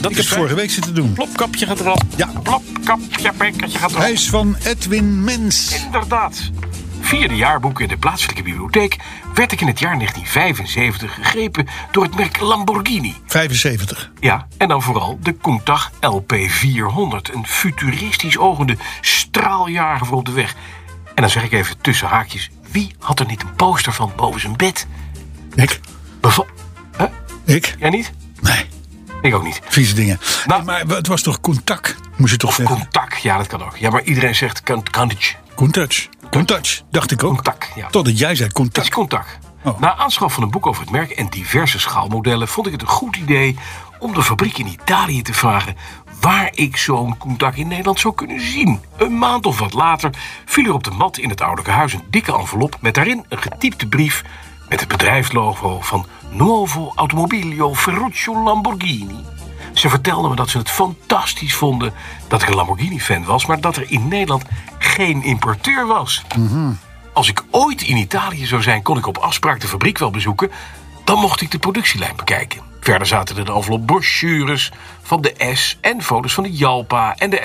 Speaker 5: Dat
Speaker 2: Ik heb vorige week zitten doen.
Speaker 5: Plopkapje gaat erop.
Speaker 2: Ja,
Speaker 3: Plopkapje, bekkertje gaat erop.
Speaker 2: Hij is van Edwin Mens.
Speaker 3: Inderdaad. Via de jaarboeken in de plaatselijke bibliotheek werd ik in het jaar 1975 gegrepen door het merk Lamborghini.
Speaker 2: 75.
Speaker 3: Ja, en dan vooral de Countach LP400. Een futuristisch ogende straaljager voor op de weg. En dan zeg ik even tussen haakjes, wie had er niet een poster van boven zijn bed?
Speaker 2: Ik?
Speaker 3: Beval... Huh?
Speaker 2: Ik?
Speaker 3: Jij niet?
Speaker 2: Nee,
Speaker 3: Ik ook niet.
Speaker 2: vieze dingen.
Speaker 3: Nou-
Speaker 2: Hey, maar het was toch contact, moest je toch
Speaker 3: Of
Speaker 2: zeggen?
Speaker 3: contact, ja dat kan ook. Ja, maar iedereen zegt kan, kan niet.
Speaker 2: Contact. Contact, dacht ik ook.
Speaker 3: Contact, ja.
Speaker 2: Totdat jij zei
Speaker 3: Dat is
Speaker 2: contact.
Speaker 3: contact.
Speaker 2: Oh.
Speaker 3: Na aanschaf van een boek over het merk en diverse schaalmodellen vond ik het een goed idee om de fabriek in Italië te vragen waar ik zo'n contact in Nederland zou kunnen zien. Een maand of wat later viel er op de mat in het ouderlijke huis een dikke envelop met daarin een getypte brief met het bedrijfslogo van Nuovo Automobilio Ferruccio Lamborghini. Ze vertelden me dat ze het fantastisch vonden dat ik een Lamborghini-fan was, maar dat er in Nederland geen importeur was. Als ik ooit in Italië zou zijn, kon ik op afspraak de fabriek wel bezoeken. Dan mocht ik de productielijn bekijken. Verder zaten er de envelop brochures van de S en foto's van de Jalpa en de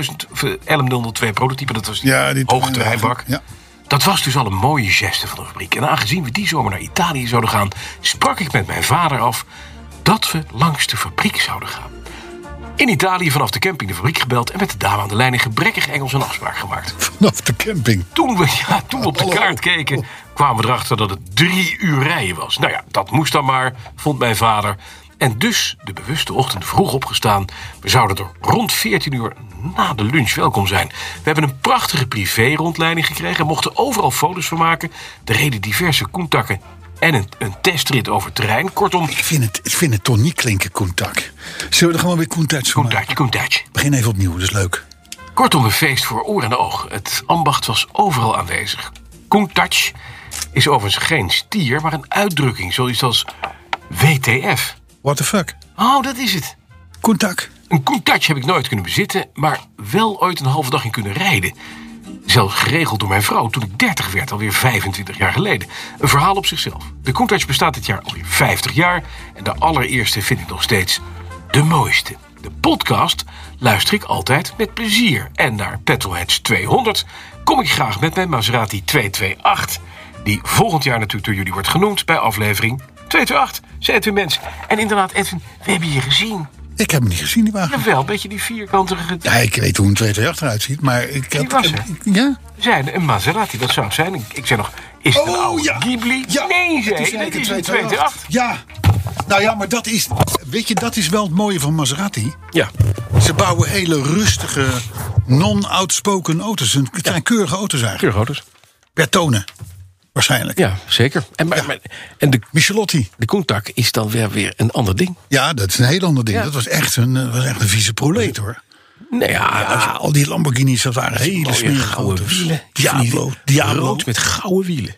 Speaker 3: LM1000, of, eh, LM002 prototype. Dat was die,
Speaker 2: Ja, die-
Speaker 3: hoogtrijbak.
Speaker 2: ja.
Speaker 3: Dat was dus al een mooie geste van de fabriek. En aangezien we die zomer naar Italië zouden gaan, sprak ik met mijn vader af dat we langs de fabriek zouden gaan. In Italië vanaf de camping de fabriek gebeld en met de dame aan de lijn in gebrekkig Engels een afspraak gemaakt.
Speaker 2: Vanaf de camping.
Speaker 3: Toen we, <laughs> ja, toen we op de
Speaker 2: Hallo.
Speaker 3: kaart keken, kwamen we erachter dat het drie uur rijden was. Nou ja, dat moest dan maar, vond mijn vader. En dus de bewuste ochtend vroeg opgestaan. We zouden er rond 14 uur na de lunch welkom zijn. We hebben een prachtige privé-rondleiding gekregen en mochten overal foto's van maken. Er reden diverse koentakken en een, een testrit over terrein. Kortom,
Speaker 2: Ik vind het, ik vind het toch niet klinken contact. Zullen we er gewoon weer contact van maken?
Speaker 3: koentaatje, koentaatje.
Speaker 2: Begin even opnieuw, dat is leuk.
Speaker 3: Kortom, een feest voor oor en oog. Het ambacht was overal aanwezig. Koentach is overigens geen stier, maar een uitdrukking, zoiets als WTF.
Speaker 2: What the fuck?
Speaker 3: Oh, dat is het.
Speaker 2: Contact.
Speaker 3: Een koentach heb ik nooit kunnen bezitten, maar wel ooit een halve dag in kunnen rijden. Zelfs geregeld door mijn vrouw toen ik 30 werd, alweer 25 jaar geleden. Een verhaal op zichzelf. De koentach bestaat dit jaar alweer 50 jaar en de allereerste vind ik nog steeds de mooiste.
Speaker 6: De podcast luister ik altijd met plezier. En naar Petrolheads 200 kom ik graag met mijn Maserati 228... die volgend jaar natuurlijk door jullie wordt genoemd bij aflevering 228. Zei Edwin Mens. En inderdaad, Edwin, we hebben je gezien.
Speaker 2: Ik heb hem niet gezien, die wagen.
Speaker 6: Jawel, Nou, een beetje die vierkantige...
Speaker 2: Ja, ik weet hoe een 228 eruit ziet, maar ik heb...
Speaker 6: was
Speaker 2: ik-
Speaker 6: er.
Speaker 2: ja?
Speaker 6: zijn een Maserati, dat zou het zijn. Ik, ik zei nog, is het een
Speaker 3: Oh,
Speaker 6: oude Ghibli? nee, zei
Speaker 2: Oh, Het
Speaker 6: ik, dit is een
Speaker 2: eigenlijk
Speaker 6: 228.
Speaker 2: Ja. Nou ja, maar dat is... Weet je, dat is wel het mooie van Maserati.
Speaker 3: Ja.
Speaker 2: Ze bouwen hele rustige, non-outspoken auto's. Het zijn keurige auto's eigenlijk.
Speaker 3: Keurgouders.
Speaker 2: Bertone, waarschijnlijk.
Speaker 3: Ja, zeker. En, maar, maar- en de,
Speaker 2: Michelotti.
Speaker 3: de contact is dan weer, weer een ander ding.
Speaker 2: Ja, dat is een heel ander ding.
Speaker 3: Ja.
Speaker 2: Dat was echt een, eh, was echt een vieze proleet, hoor.
Speaker 3: Nou ja,
Speaker 2: Als je- al die Lamborghinis, dat waren hele
Speaker 3: mooie
Speaker 2: smerige
Speaker 3: gouden
Speaker 2: auto's.
Speaker 3: wielen.
Speaker 2: Diablo. Diablo.
Speaker 3: rood met gouden wielen.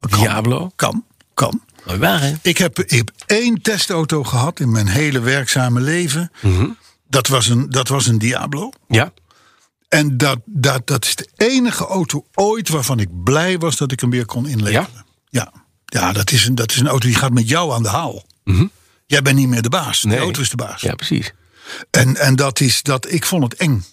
Speaker 2: Kan.
Speaker 3: Diablo.
Speaker 2: Kan. Kan.
Speaker 3: Mooi waar, hè?
Speaker 2: Ik heb, ik heb één testauto gehad in mijn hele werkzame leven.
Speaker 3: Mhm.
Speaker 2: dat, was een, dat was een Diablo.
Speaker 3: Ja.
Speaker 2: En dat, dat, dat is de enige auto ooit waarvan ik blij was dat ik hem weer kon inleveren.
Speaker 3: Ja?
Speaker 2: Ja, ja dat, is een, dat is een auto die gaat met jou aan de haal. Jij bent niet meer de baas.
Speaker 3: Mhm. Nee.
Speaker 2: De auto is de baas.
Speaker 3: Ja, precies.
Speaker 2: En, en dat is dat, ik vond het eng.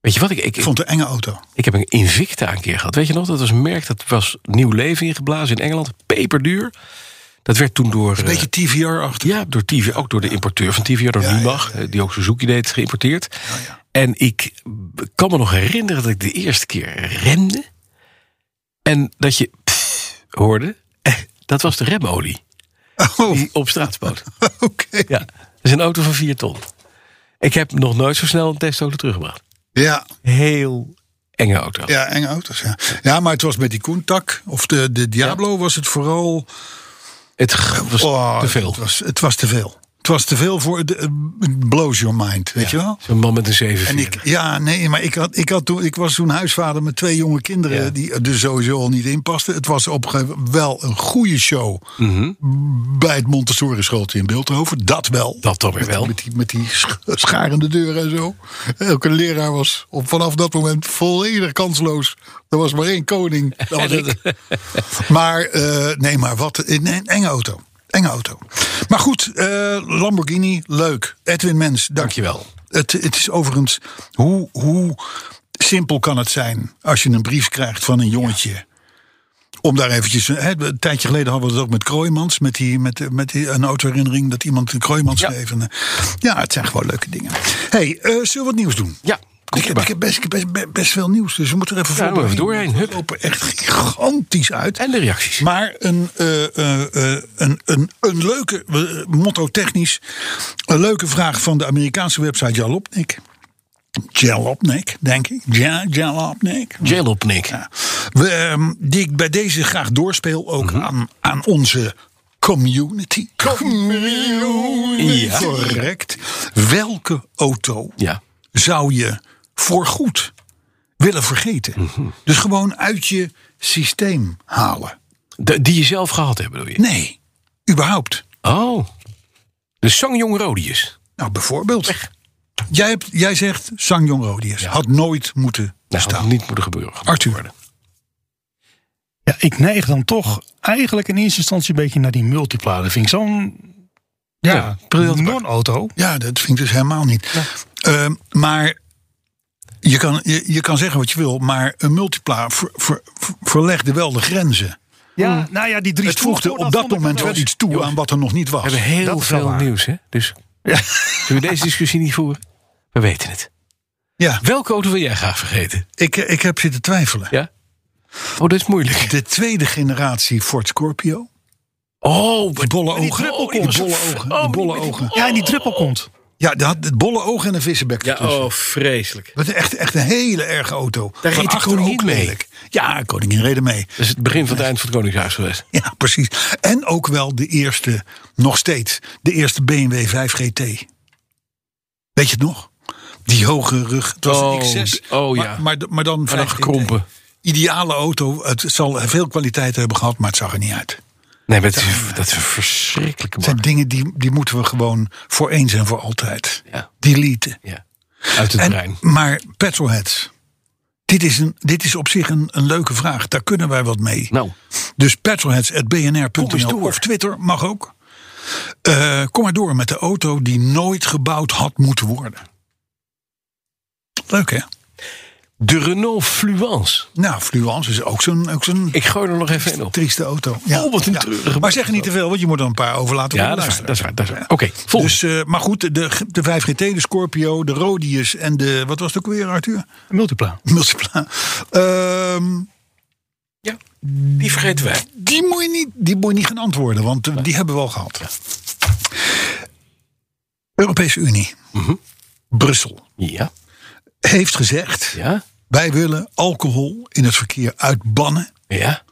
Speaker 3: Weet je wat, ik, ik,
Speaker 2: Ik vond het een enge auto. <laughs>
Speaker 3: Ik heb een Invicta een keer gehad. Weet je nog? Dat was een merk dat was nieuw leven ingeblazen in Engeland. Peperduur. Dat werd toen door. eh,
Speaker 2: Een beetje TVR-achtig.
Speaker 3: ja, door TV, ook door de importeur van TVR, door
Speaker 2: Ja,
Speaker 3: Numag,
Speaker 2: ja, ja, ja.
Speaker 3: die ook Suzuki deed, geïmporteerd. En ik kan me nog herinneren dat ik de eerste keer remde. En dat je pff hoorde, eh, dat was de remolie
Speaker 2: Oh,
Speaker 3: die op straat spoot.
Speaker 2: oké.
Speaker 3: Ja, dat is een auto van 4 ton. Ik heb nog nooit zo snel een testauto teruggebracht.
Speaker 2: Ja,
Speaker 3: Heel enge auto.
Speaker 2: ja, enge auto's. Ja. ja, maar het was met die Koentak of de, de Diablo was het vooral...
Speaker 3: Het g- was
Speaker 2: Oh,
Speaker 3: te veel.
Speaker 2: Het was, het was te veel. Het was te veel voor... De, eh, it blows your mind, weet je wel?
Speaker 3: Zo'n man met een 7
Speaker 2: En ik, ja, nee, maar ik, had, ik, had toen, ik was toen huisvader met twee jonge kinderen.
Speaker 3: Ja.
Speaker 2: die er dus sowieso al niet in pasten. Het was op een gegeven moment wel een goede show.
Speaker 3: Mhm.
Speaker 2: bij het Montessori schooltje in Beeldhoven. Dat wel.
Speaker 3: Dat toch weer
Speaker 2: Met-
Speaker 3: wel.
Speaker 2: Met die, met die sch- scharende deuren en zo. Elke leraar was op, vanaf dat moment volledig kansloos. Er was maar één
Speaker 3: <laughs>
Speaker 2: koning. Dat was ik. maar eh, nee, maar wat. Een een enge auto. Enge auto. Maar goed, eh, Lamborghini, leuk. Edwin Mens, dank
Speaker 3: Dankjewel.
Speaker 2: het, het is overigens, hoe, hoe simpel kan het zijn als je een brief krijgt van een jongetje? Om daar eventjes, hè, een tijdje geleden hadden we het ook met Kroijmans, met, die, met, met die, een autoherinnering dat iemand een Kroijmans
Speaker 3: Ja.
Speaker 2: schreef. En, eh, Ja, het zijn gewoon leuke dingen. hey, eh, zullen we wat nieuws doen?
Speaker 3: Ja, kom
Speaker 2: Ik heb, ik heb best, ik heb best, best- best veel nieuws, dus we moeten er even
Speaker 3: Ja,
Speaker 2: voor
Speaker 3: we moeten even doorheen,
Speaker 2: We
Speaker 3: hup.
Speaker 2: lopen echt gigantisch uit.
Speaker 3: En de reacties.
Speaker 2: Maar een, eh, eh, eh, een, een, een leuke, eh, motto technisch, een leuke vraag van de Amerikaanse website Jalopnik. Jalopnik, denk ik. Ja, Jalopnik.
Speaker 3: Jalopnik.
Speaker 2: Ja. We, ehm, die ik bij deze graag doorspeel ook
Speaker 3: Mhm.
Speaker 2: aan, aan onze community. Community.
Speaker 3: Ja.
Speaker 2: Correct. Welke auto
Speaker 3: Ja.
Speaker 2: zou je voorgoed willen vergeten?
Speaker 3: Mhm.
Speaker 2: Dus gewoon uit je systeem halen.
Speaker 3: De- die je zelf gehad hebt, bedoel je?
Speaker 2: Nee, überhaupt.
Speaker 3: Oh. De Sangjong Rodius.
Speaker 2: Nou, bijvoorbeeld. Jij, hebt, jij zegt Sangjong Rodius. Had nooit moeten
Speaker 3: Nou, dat
Speaker 2: staan.
Speaker 3: had niet moeten gebeuren.
Speaker 2: Arthur.
Speaker 4: Ja, ik neig dan toch eigenlijk in eerste instantie een beetje naar die multipla. Dat vind ik zo'n ja,
Speaker 3: Ja, briljant pak.
Speaker 4: non-auto.
Speaker 2: Ja, dat vind ik dus helemaal niet. Ehm, maar je kan, je, je kan zeggen wat je wil, maar een multipla ver, ver- ver- verlegde wel de grenzen.
Speaker 4: Ja, nou ja, die drie
Speaker 2: Het voegde
Speaker 4: stoeltjes,
Speaker 2: op dat
Speaker 4: vond ik
Speaker 2: moment wel
Speaker 4: eens-
Speaker 2: iets toe aan wat er nog niet
Speaker 3: We
Speaker 2: was.
Speaker 3: hebben heel
Speaker 4: dat is wel
Speaker 3: veel
Speaker 4: waar.
Speaker 3: nieuws, hè? Dus zullen we deze discussie niet voeren? We weten het.
Speaker 2: Ja,
Speaker 3: Welke auto wil jij graag vergeten?
Speaker 2: ik, ik heb zitten twijfelen.
Speaker 3: Ja? Oh, dat is moeilijk.
Speaker 2: De tweede generatie Ford Scorpio.
Speaker 3: Oh, wat-
Speaker 2: Bolle
Speaker 3: maar die
Speaker 2: ogen.
Speaker 3: druppel
Speaker 2: Oh, die
Speaker 3: komt.
Speaker 2: bolle
Speaker 3: Oh,
Speaker 2: ogen.
Speaker 3: die-
Speaker 2: Die bolle
Speaker 3: die-
Speaker 2: ogen.
Speaker 4: Ja, en die druppel komt.
Speaker 2: Ja, dat had het bolle oog en een vissenbek
Speaker 3: Ja,
Speaker 2: ertussen.
Speaker 3: oh, vreselijk.
Speaker 2: Dat is echt, echt een hele erge auto.
Speaker 3: Daar
Speaker 2: Van
Speaker 3: reed de
Speaker 2: achter
Speaker 3: koningin
Speaker 2: ook
Speaker 3: mee.
Speaker 2: lelijk. Ja, koningin reden mee.
Speaker 3: Dat is het begin van het eind van het Koningshuis geweest.
Speaker 2: Ja, precies. En ook wel de eerste, nog steeds, de eerste BMW 5 GT. Weet je het nog? Die hoge rug. Het was
Speaker 3: Oh,
Speaker 2: een
Speaker 3: d-
Speaker 2: X6.
Speaker 3: oh,
Speaker 2: maar,
Speaker 3: ja.
Speaker 2: Maar, d- maar dan,
Speaker 3: Maar dan
Speaker 2: 5 GT.
Speaker 3: gekrompen.
Speaker 2: Ideale auto. Het zal veel kwaliteit hebben gehad, maar het zag er niet uit.
Speaker 3: Nee, maar dat is, dat is een verschrikkelijke
Speaker 2: Het zijn
Speaker 3: man.
Speaker 2: dingen die, die moeten we gewoon voor eens en voor altijd
Speaker 3: Ja.
Speaker 2: deleten.
Speaker 3: Ja. Uit het brein.
Speaker 2: En, maar petrolheads, dit is, een, dit is op zich een, een leuke vraag. Daar kunnen wij wat mee.
Speaker 3: Nou,
Speaker 2: Dus petrolheads.bnr.nl
Speaker 3: eens door.
Speaker 2: of Twitter mag ook. Eh, kom maar door met de auto die nooit gebouwd had moeten worden. Leuk hè?
Speaker 3: De Renault Fluence.
Speaker 2: Nou, Fluence is ook zo'n ook zo'n
Speaker 3: Ik gooi er nog even in op.
Speaker 2: trieste auto. Ja.
Speaker 3: Oh, wat een
Speaker 2: Ja.
Speaker 3: treurige
Speaker 2: Maar zeg er niet te veel, want je moet er een paar over laten
Speaker 3: Ja,
Speaker 2: horen,
Speaker 3: dat is waar.
Speaker 2: luisteren.
Speaker 3: Dat is waar, dat is waar. Oké, volgende.
Speaker 2: Dus, eh, maar goed, de, de 5GT, de Scorpio, de Rodius en de... Wat was het ook weer, Arthur?
Speaker 3: Dus
Speaker 4: Multipla.
Speaker 2: Multipla. Ehm,
Speaker 3: ja, die vergeten wij.
Speaker 2: die, moet je niet, die moet je niet gaan antwoorden, want eh, die hebben we al gehad. Europese Unie, Brussel,
Speaker 3: Mhm. Ja,
Speaker 2: heeft gezegd...
Speaker 3: ja,
Speaker 2: wij willen alcohol in het verkeer uitbannen.
Speaker 3: ja.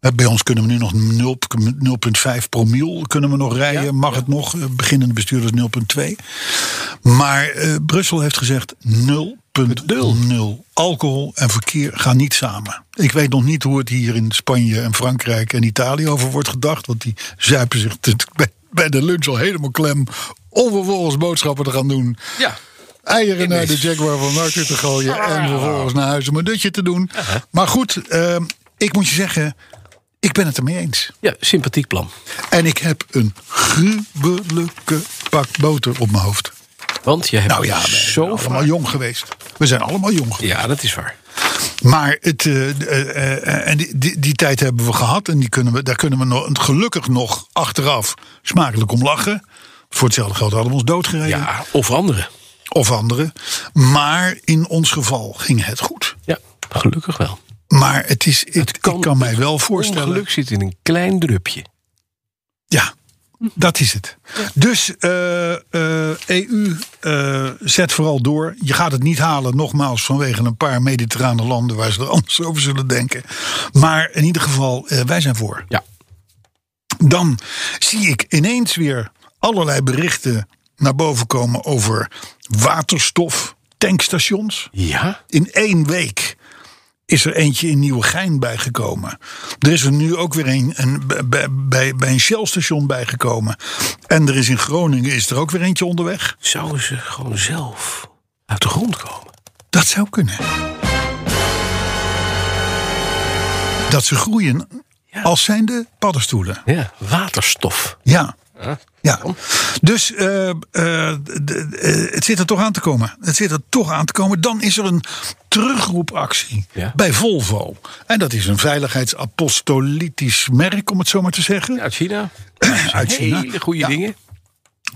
Speaker 2: Eh, Bij ons kunnen we nu nog 0, 0,5 promiel kunnen we nog rijden. Mag het nog? Eh, Beginnende bestuurders 0,2. Maar eh, Brussel heeft gezegd 0,0 alcohol en verkeer gaan niet samen. Ik weet nog niet hoe het hier in Spanje en Frankrijk en Italië over wordt gedacht. Want die zuipen zich <laughs> te- bij- bij de lunch al helemaal klem. Om vervolgens boodschappen te gaan doen.
Speaker 3: Ja,
Speaker 2: Eieren naar de Jaguar van Marker te gooien.
Speaker 3: Ah.
Speaker 2: En vervolgens naar huis om een dutje te doen. Maar goed, ehm, ik moet je zeggen. Ik ben het ermee eens.
Speaker 3: ja sympathiek plan.
Speaker 2: En ik heb een gruwelijke pak boter op mijn hoofd.
Speaker 3: Want je hebt
Speaker 2: Nou ja, we zijn
Speaker 3: zo
Speaker 2: allemaal
Speaker 3: vaak...
Speaker 2: jong geweest. We zijn allemaal jong geweest.
Speaker 3: Ja, dat is waar.
Speaker 2: Maar het, eh, eh, eh, en die, die, die tijd hebben we gehad. En die kunnen we, daar kunnen we nog, gelukkig nog achteraf smakelijk om lachen. Voor hetzelfde geld hadden we ons doodgereden.
Speaker 3: Ja, of anderen.
Speaker 2: Of anderen. Maar in ons geval ging het goed.
Speaker 3: Ja, gelukkig wel.
Speaker 2: Maar het is, ik, ik kan,
Speaker 3: kan-
Speaker 2: mij wel voorstellen.
Speaker 3: Ongeluk zit in een klein drupje.
Speaker 2: Ja, dat is het. Dus eh, eh, EU eh, zet vooral door. Je gaat het niet halen, nogmaals, vanwege een paar mediterrane landen waar ze er <laughs> anders over zullen denken. Maar in ieder geval, eh, wij zijn voor.
Speaker 3: Ja.
Speaker 2: Dan zie ik ineens weer allerlei berichten naar boven komen over waterstof, tankstations.
Speaker 3: Ja?
Speaker 2: In één week is er eentje in Nieuwegein bijgekomen. Er is er nu ook weer een, een bij- bij, bij, bij een Shell-station bijgekomen. En er is in Groningen is er ook weer eentje onderweg.
Speaker 3: Zouden ze gewoon zelf uit de grond komen?
Speaker 2: Dat zou kunnen. Dat ze groeien als zijn de paddenstoelen.
Speaker 3: Ja, waterstof.
Speaker 2: Ja. Ja. Dus eh, eh, d- d- eh, het zit er toch aan te komen. Het zit er toch aan te komen. Dan is er een terugroepactie
Speaker 3: Ja.
Speaker 2: bij Volvo. En dat is een veiligheidsapostolitisch merk, om het zo maar te zeggen.
Speaker 3: Uit China.
Speaker 2: uit China.
Speaker 3: Hele goede
Speaker 2: Ja.
Speaker 3: dingen.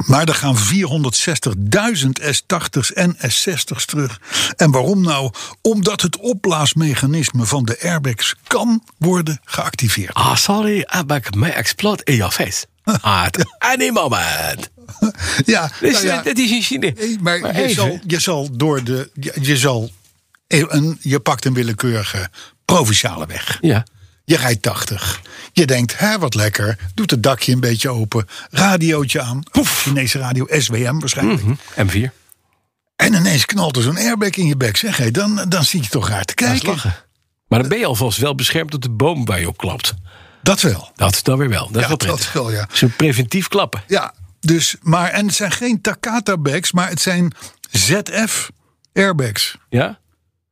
Speaker 2: Maar er gaan 460.000 S80's en S60's terug. En waarom nou? Omdat het opblaasmechanisme van de airbags kan worden geactiveerd.
Speaker 3: Ah, sorry, Abak, mij explode in jouw
Speaker 2: <laughs>
Speaker 3: face. At any moment.
Speaker 2: Ja,
Speaker 3: Dus
Speaker 2: nou ja.
Speaker 3: eh, dat is in China.
Speaker 2: Nee, maar,
Speaker 3: Maar
Speaker 2: je,
Speaker 3: even.
Speaker 2: zal, je zal door de. Je, je zal. Een, je pakt een willekeurige provinciale weg.
Speaker 3: Ja.
Speaker 2: Je rijdt 80. Je denkt, hè, wat lekker. Doet het dakje een beetje open. Radiootje aan. Poef, Chinese radio, SWM waarschijnlijk.
Speaker 3: Mhm. M4.
Speaker 2: En ineens knalt er zo'n airbag in je bek. Zeg, hé, dan, dan zie je toch raar te
Speaker 3: Dat is
Speaker 2: kijken.
Speaker 3: lachen. Maar dan ben je alvast wel beschermd op de boom waar je op klapt.
Speaker 2: Dat wel.
Speaker 3: Dat is dan weer wel. Dat is
Speaker 2: Ja,
Speaker 3: wel
Speaker 2: dat
Speaker 3: prettig.
Speaker 2: wel, ja.
Speaker 3: Zo'n preventief klappen.
Speaker 2: Ja, dus. Maar, en het zijn geen Takata-bags, maar het zijn ZF-airbags.
Speaker 3: Ja?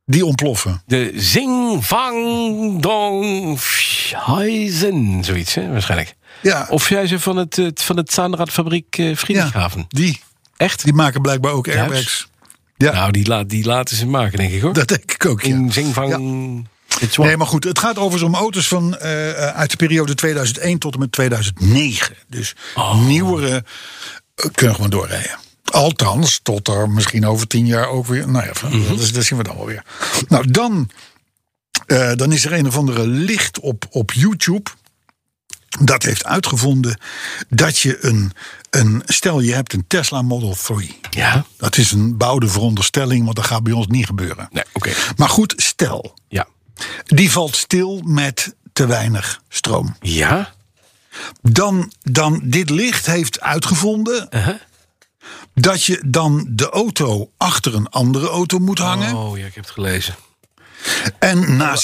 Speaker 2: Die ontploffen.
Speaker 3: De Zing Vang Dong Huizen. Zoiets, hè, waarschijnlijk.
Speaker 2: Ja.
Speaker 3: Of jij ze van het, eh, van het Zaanraadfabriek eh
Speaker 2: ja,
Speaker 3: Friedrichshaven.
Speaker 2: die.
Speaker 3: Echt?
Speaker 2: Die maken blijkbaar ook
Speaker 3: Duits?
Speaker 2: airbags. Ja.
Speaker 3: Nou, die, la, die laten ze maken, denk ik hoor.
Speaker 2: Dat denk ik ook, ja.
Speaker 3: In Zing Vang. Het
Speaker 2: Nee, maar goed, het gaat overigens om auto's van, eh, eh, uit de periode 2001 tot en met 2009. Dus nieuwere eh, kunnen gewoon doorrijden. Althans, tot er misschien over tien jaar ook weer... Nou ja, van- dat, is- dat zien we dan wel weer. Nou, dan, eh, dan is er een of andere licht op, op YouTube... dat heeft uitgevonden dat je een, een... Stel, je hebt een Tesla Model 3.
Speaker 3: Ja.
Speaker 2: Dat is een bouwde veronderstelling, want dat gaat bij ons niet gebeuren.
Speaker 3: Nee, oké.
Speaker 2: Maar goed, stel,
Speaker 3: Ja.
Speaker 2: die valt stil met te weinig stroom.
Speaker 3: Ja?
Speaker 2: Dan, dan dit licht heeft uitgevonden
Speaker 3: Uh-huh.
Speaker 2: dat je dan de auto achter een andere auto moet hangen.
Speaker 3: Oh ja, ik heb het gelezen.
Speaker 2: En na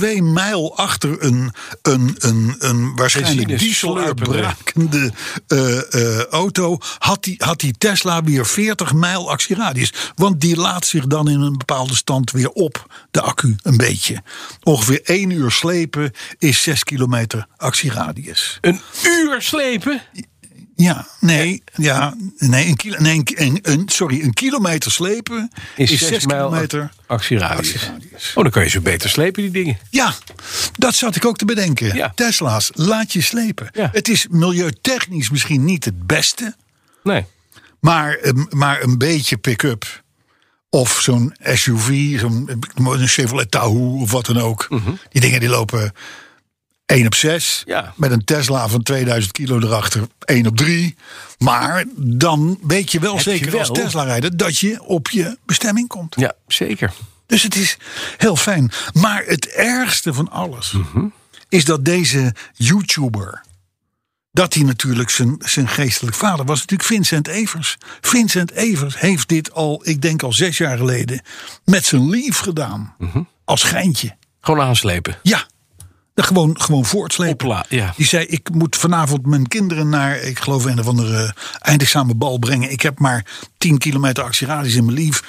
Speaker 2: 6,2 mijl achter een, een, een, een waarschijnlijk
Speaker 3: Benzine
Speaker 2: diesel
Speaker 3: slurpende.
Speaker 2: uitbrakende eh, eh, auto... Had die, had die Tesla weer 40 mijl actieradius. Want die laat zich dan in een bepaalde stand weer op, de accu, een beetje. Ongeveer 1 uur slepen is 6 kilometer actieradius.
Speaker 3: Een uur slepen?
Speaker 2: Ja, nee, ja, nee, een, kilo, nee een, een, een- sorry, een kilometer slepen is,
Speaker 7: Is
Speaker 2: 6
Speaker 7: zes mijl
Speaker 2: kilometer.
Speaker 7: actieradius. Oh, dan kan je ze beter slepen, die dingen.
Speaker 2: Ja, dat zat ik ook te bedenken.
Speaker 7: Ja.
Speaker 2: Tesla's, laat je slepen.
Speaker 7: Ja.
Speaker 2: Het is milieutechnisch misschien niet het beste,
Speaker 7: Nee.
Speaker 2: maar, ehm, maar een beetje pick-up. Of zo'n SUV, zo'n eh, een Chevrolet Tahoe of wat dan ook.
Speaker 7: Mhm.
Speaker 2: Die dingen die lopen 1 op 6.
Speaker 7: Ja.
Speaker 2: Met een Tesla van 2000 kilo erachter 1 op 3. Maar dan weet je wel
Speaker 7: Heb je
Speaker 2: zeker als
Speaker 7: wel-
Speaker 2: Tesla-rijder dat je op je bestemming komt.
Speaker 7: Ja, zeker.
Speaker 2: Dus het is heel fijn. Maar het ergste van alles is dat deze YouTuber. Dat hij natuurlijk zijn, zijn geestelijk vader was, natuurlijk Vincent Evers. Vincent Evers heeft dit al, ik denk al zes jaar geleden, met zijn lief gedaan. Als geintje.
Speaker 7: Gewoon aanslepen.
Speaker 2: Ja, dat gewoon, gewoon voortslepen.
Speaker 7: Opla, ja.
Speaker 2: Die zei, ik moet vanavond mijn kinderen naar, ik geloof een of andere eindexamen bal brengen. Ik heb maar 10 kilometer actieradius in mijn lief.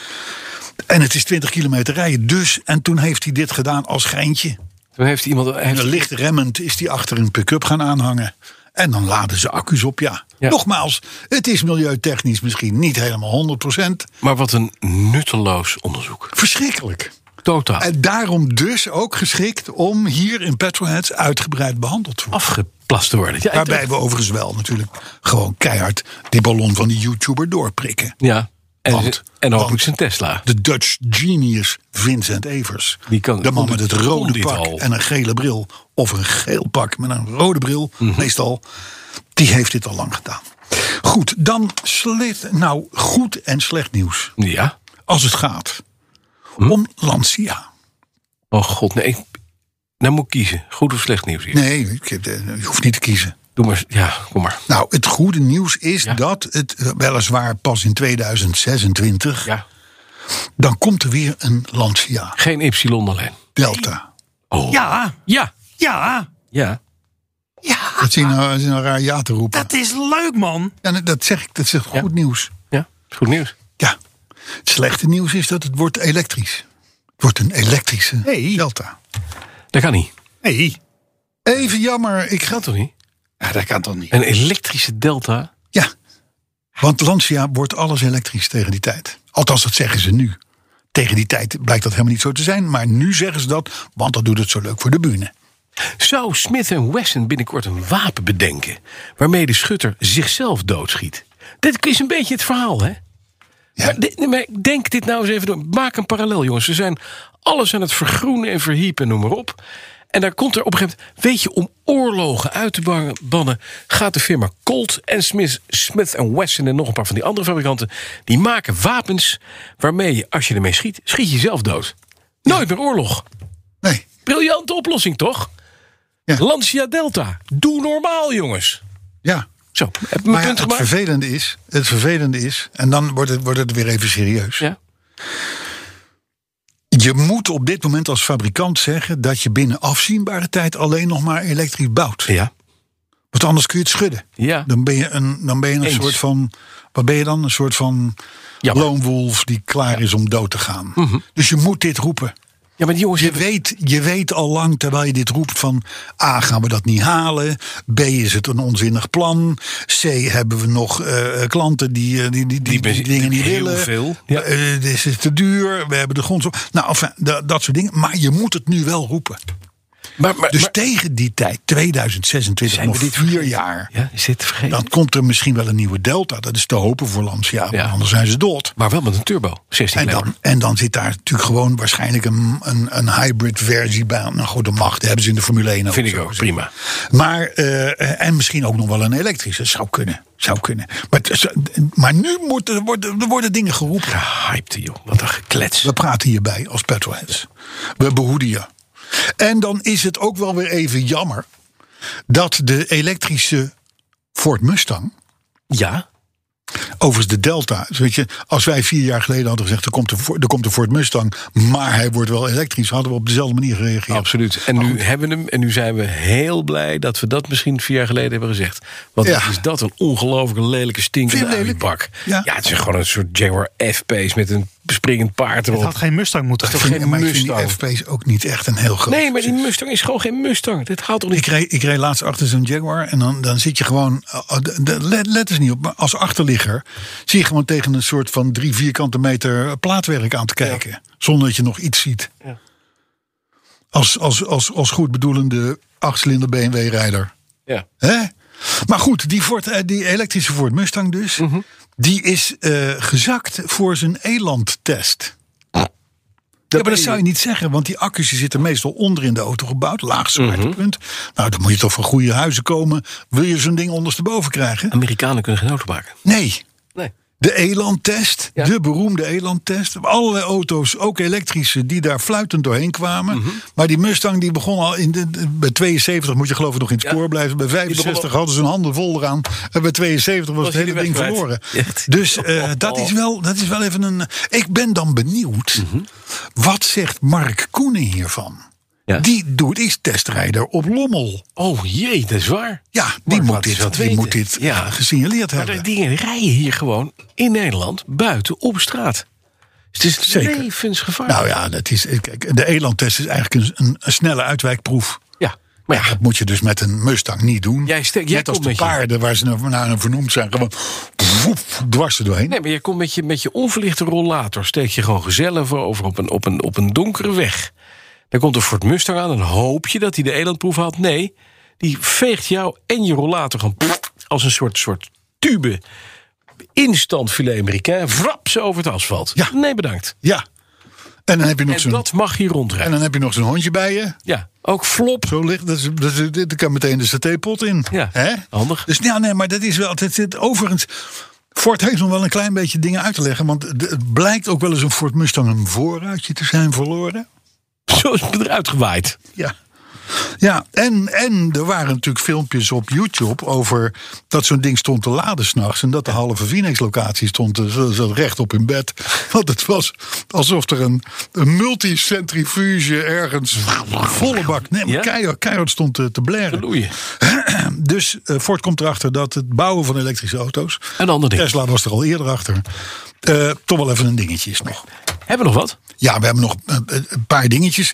Speaker 2: En het is 20 kilometer rijden. Dus, en toen heeft hij dit gedaan als geintje.
Speaker 7: Toen heeft iemand...
Speaker 2: En
Speaker 7: Heeft,
Speaker 2: dan licht remmend is hij achter een pick-up gaan aanhangen. En dan laden ze accu's op, ja.
Speaker 7: Ja.
Speaker 2: Nogmaals, het is milieutechnisch misschien niet helemaal 100%.
Speaker 7: maar wat een nutteloos onderzoek.
Speaker 2: Verschrikkelijk.
Speaker 7: Totaal.
Speaker 2: En daarom dus ook geschikt om hier in Petrolheads uitgebreid behandeld te worden.
Speaker 7: Afgeplast te worden. Ja,
Speaker 2: Waarbij we overigens wel natuurlijk gewoon keihard die ballon van die YouTuber doorprikken.
Speaker 7: Ja. En,
Speaker 2: Want-
Speaker 7: en
Speaker 2: want-
Speaker 7: hopelijk zijn Tesla.
Speaker 2: De Dutch genius Vincent Evers.
Speaker 7: Die kan-
Speaker 2: de man
Speaker 7: kon
Speaker 2: met
Speaker 7: dit-
Speaker 2: het
Speaker 7: kon
Speaker 2: rode
Speaker 7: dit
Speaker 2: pak
Speaker 7: al.
Speaker 2: en een gele bril. Of een geel pak met een rode bril,
Speaker 7: Mhm.
Speaker 2: meestal. Die heeft dit al lang gedaan. Goed, dan slecht, nou goed en slecht nieuws.
Speaker 7: Ja.
Speaker 2: Als het gaat
Speaker 7: Hm?
Speaker 2: om Lancia.
Speaker 7: Oh god, nee. ik- Nou moet ik kiezen. Goed of slecht nieuws hier.
Speaker 2: Nee, ik heb de- je hoeft niet te kiezen.
Speaker 7: Doe maar. Ja, kom maar.
Speaker 2: Nou, het goede nieuws is dat het eh, weliswaar pas in 2026...
Speaker 7: Ja.
Speaker 2: dan komt er weer een Lancia
Speaker 7: Geen Ypsilon alleen.
Speaker 2: Delta.
Speaker 4: Ja,
Speaker 7: Ja.
Speaker 4: ja,
Speaker 7: Ja.
Speaker 4: ja.
Speaker 2: Dat is een, dat is een raar ja te roepen.
Speaker 4: Dat is leuk, man.
Speaker 2: Ja, dat zeg ik, dat is echt
Speaker 7: Ja.
Speaker 2: goed nieuws.
Speaker 7: Ja. Is Goed nieuws.
Speaker 2: Ja. Het slechte nieuws is dat het wordt elektrisch. Het wordt een elektrische
Speaker 4: Hey.
Speaker 2: Delta.
Speaker 7: Dat kan niet.
Speaker 4: Hey,
Speaker 2: Even jammer, ik ga
Speaker 7: Dat toch niet?
Speaker 4: ja, dat kan toch niet?
Speaker 7: Een elektrische Delta.
Speaker 2: Ja. Want Lancia wordt alles elektrisch tegen die tijd. Althans, dat zeggen ze nu. Tegen die tijd blijkt dat helemaal niet zo te zijn. Maar nu zeggen ze dat, want dat doet het zo leuk voor de bühne.
Speaker 7: Zou Smith Wesson binnenkort een wapen bedenken... waarmee de schutter zichzelf doodschiet? Dit is een beetje het verhaal, hè? Maar, de- maar denk dit nou eens even door. Maak een parallel, jongens. Ze zijn alles aan het vergroenen en verhiepen, noem maar op. En daar komt er op een gegeven moment... Weet je, om oorlogen uit te ban- bannen... gaat de firma Colt en Smith, Smith Wesson... en nog een paar van die andere fabrikanten... die maken wapens waarmee je, als je ermee schiet... schiet je jezelf dood. Nooit meer oorlog.
Speaker 2: Nee.
Speaker 7: Briljante oplossing, toch?
Speaker 2: Ja.
Speaker 7: Lancia Delta. Doe normaal, jongens.
Speaker 2: Ja.
Speaker 7: Zo, heb je mijn
Speaker 2: Maar ja,
Speaker 7: punt
Speaker 2: het
Speaker 7: gemaakt?
Speaker 2: vervelende is, het vervelende is, en dan wordt het, wordt het weer even serieus.
Speaker 7: Ja.
Speaker 2: Je moet op dit moment als fabrikant zeggen dat je binnen afzienbare tijd alleen nog maar elektrisch bouwt.
Speaker 7: Ja.
Speaker 2: Want anders kun je het schudden.
Speaker 7: Ja.
Speaker 2: Dan ben je een, dan ben je een
Speaker 7: Eens.
Speaker 2: soort van. Wat ben je dan? Een soort van
Speaker 7: Jammer. Mhm.
Speaker 2: lone wolf die klaar is om dood te gaan. Dus je moet dit roepen.
Speaker 7: ja, maar die jongens...
Speaker 2: Je weet, je weet al lang terwijl je dit roept van A gaan we dat niet halen, B is het een onzinnig plan, C hebben we nog eh, klanten die, eh, die, die, die,
Speaker 7: benzine-
Speaker 2: die dingen niet
Speaker 7: heel
Speaker 2: willen,
Speaker 7: veel.
Speaker 2: Ja. Eh, dit is te duur, we hebben de grond zo. Nou, enfin, da- dat soort dingen. Maar je moet het nu wel roepen.
Speaker 7: Maar, maar,
Speaker 2: Dus
Speaker 7: maar-
Speaker 2: tegen die tijd, 2026,
Speaker 7: Zijn we
Speaker 2: nog
Speaker 7: dit
Speaker 2: vier jaar,
Speaker 7: ja, is dit te vergeten?
Speaker 2: dan komt er misschien wel een nieuwe Delta. Dat is te hopen voor Lancia, want
Speaker 7: Ja.
Speaker 2: anders zijn ze dood.
Speaker 7: Maar wel met een turbo. 16
Speaker 2: En
Speaker 7: liter.
Speaker 2: dan, en dan zit daar natuurlijk gewoon waarschijnlijk een, een, een hybrid versie bij. Nou goed, de macht hebben ze in de Formule 1 ook.
Speaker 7: Vind ik
Speaker 2: zo
Speaker 7: ook
Speaker 2: gezegd.
Speaker 7: prima.
Speaker 2: Maar, eh, en misschien ook nog wel een elektrische. Zou kunnen, zou kunnen. Maar, het is- maar nu moet, er, worden, er worden dingen geroepen.
Speaker 7: Hypte, joh. Wat een geklets.
Speaker 2: We praten hierbij als petrolheads. We behoeden je. En dan is het ook wel weer even jammer... dat de elektrische Ford Mustang...
Speaker 7: Ja.
Speaker 2: Overigens de Delta. Dus weet je, als wij vier jaar geleden hadden gezegd... er komt een, Fo- er komt een Ford Mustang, maar hij wordt wel elektrisch... hadden we op dezelfde manier gereageerd.
Speaker 7: Absoluut. En
Speaker 2: Oh.
Speaker 7: nu hebben we hem. En nu zijn we heel blij dat we dat misschien vier jaar geleden hebben gezegd. Want
Speaker 2: Ja.
Speaker 7: wat is dat een ongelooflijk lelijke
Speaker 2: Vind je
Speaker 7: stinkende
Speaker 2: hem lelijk?
Speaker 7: bak.
Speaker 2: Ja.
Speaker 7: Ja. het is gewoon een soort Jaguar F-Pace met een springend paard
Speaker 4: Het had
Speaker 7: erop.
Speaker 4: geen Mustang moeten
Speaker 2: Ik
Speaker 4: zijn.
Speaker 2: vind,
Speaker 7: geen
Speaker 2: maar ik vind die
Speaker 7: Mustang.
Speaker 2: FP's ook niet echt een heel groot.
Speaker 7: Nee, maar die Mustang is gewoon geen Mustang. Dit haalt toch
Speaker 2: Ik
Speaker 7: niet...
Speaker 2: reed, ik reed laatst achter zo'n Jaguar en dan, dan zit je gewoon, eh, de- de- let, let eens niet op, maar als achterligger zie je gewoon tegen een soort van drie vierkante meter plaatwerk aan te kijken. Zonder dat je nog iets ziet. Als, als, als, als goed bedoelende achtcilinder BMW-rijder.
Speaker 7: Ja.
Speaker 2: Hè? Maar goed, die, Ford, eh, die elektrische Ford Mustang dus, die is eh, gezakt voor zijn elandtest. Ja, maar dat zou je niet zeggen, want die accu's die zitten meestal onder in de auto gebouwd, laag zwaartepunt. Nou, dan moet je toch van goede huizen komen. Wil je zo'n ding ondersteboven krijgen?
Speaker 7: Amerikanen kunnen geen auto maken.
Speaker 2: Nee.
Speaker 7: Nee.
Speaker 2: De Eland-test,
Speaker 7: Ja.
Speaker 2: de beroemde Eland-test. Allerlei auto's, ook elektrische, die daar fluitend doorheen kwamen.
Speaker 7: Mhm.
Speaker 2: Maar die Mustang die begon al in de, de- bij 72, moet je geloof ik nog in het spoor blijven. Bij 65 hadden ze hun handen vol eraan. En bij 72 was, het
Speaker 7: hij
Speaker 2: hele
Speaker 7: die
Speaker 2: ding
Speaker 7: weg
Speaker 2: verloren.
Speaker 7: kwijt. <laughs> Echt. Oh,
Speaker 2: Dus eh, dat, is wel, dat is wel even een... eh, Ik ben dan benieuwd,
Speaker 7: Mhm.
Speaker 2: wat zegt Mark Koenen hiervan?
Speaker 7: Ja.
Speaker 2: Die doet, is testrijder op Lommel.
Speaker 7: Oh jee, dat is waar.
Speaker 2: Ja, die,
Speaker 7: Maar
Speaker 2: moet
Speaker 7: wat is
Speaker 2: dit,
Speaker 7: dat
Speaker 2: die
Speaker 7: weten?
Speaker 2: moet dit
Speaker 7: Ja.
Speaker 2: eh, gesignaleerd
Speaker 7: Maar de
Speaker 2: hebben.
Speaker 7: dingen rijden hier gewoon in Nederland buiten op straat. Dus het is
Speaker 2: Zeker.
Speaker 7: levensgevaarlijk.
Speaker 2: Nou ja, dat is, kijk, de elandtest is eigenlijk een, een, een snelle uitwijkproef.
Speaker 7: ja, maar ja,
Speaker 2: Dat moet je dus met een Mustang niet doen.
Speaker 7: Jij steekt- jij
Speaker 2: Net als
Speaker 7: komt
Speaker 2: de
Speaker 7: met je-
Speaker 2: paarden waar ze nou naar- naar vernoemd zijn. Gewoon woef, dwars er doorheen.
Speaker 7: Nee, maar je komt met je, met je onverlichte rollator. Steek je gewoon gezellig over op een, op een, op een donkere weg. Dan komt een Ford Mustang aan. Dan hoop je dat hij de elandproef haalt. Nee, die veegt jou en je rollator gewoon pff, als een soort, soort tube. Instant filet Amerikaan. Vrap ze over het asfalt.
Speaker 2: Ja.
Speaker 7: Nee, bedankt.
Speaker 2: Ja. En dan heb je nog
Speaker 7: En
Speaker 2: zo'n...
Speaker 7: dat mag hier
Speaker 2: En
Speaker 7: rondrijden.
Speaker 2: dan heb je nog zo'n hondje bij je.
Speaker 7: Ja, ook flop. <laughs>
Speaker 2: Zo ligt, dat, is, dat, is- dit kan meteen de satépot in.
Speaker 7: Ja,
Speaker 2: Hè?
Speaker 7: handig.
Speaker 2: Dus ja, nee, maar dat is wel. Dat, zit overigens, Ford heeft nog wel een klein beetje dingen uit te leggen. Want het- het blijkt ook wel eens een Ford Mustang een voorruitje te zijn verloren.
Speaker 7: Zo is het eruit gewaaid.
Speaker 2: Ja. Ja, en, en er waren natuurlijk filmpjes op YouTube over dat zo'n ding stond te laden s'nachts. En dat de halve Phoenix-locatie stond eh, ze zat recht op in bed. <laughs> Want het was alsof er een, een multicentrifuge ergens volle bak. Nee, maar
Speaker 7: Ja?
Speaker 2: keihard, keihard stond te, te blaren.
Speaker 7: Loeien.
Speaker 2: Dus eh, Ford komt erachter dat het bouwen van elektrische auto's.
Speaker 7: Een ander ding.
Speaker 2: Tesla was er al eerder achter. eh, toch wel even een dingetje is nog.
Speaker 7: Hebben we nog wat?
Speaker 2: Ja, we hebben nog eh, een paar dingetjes.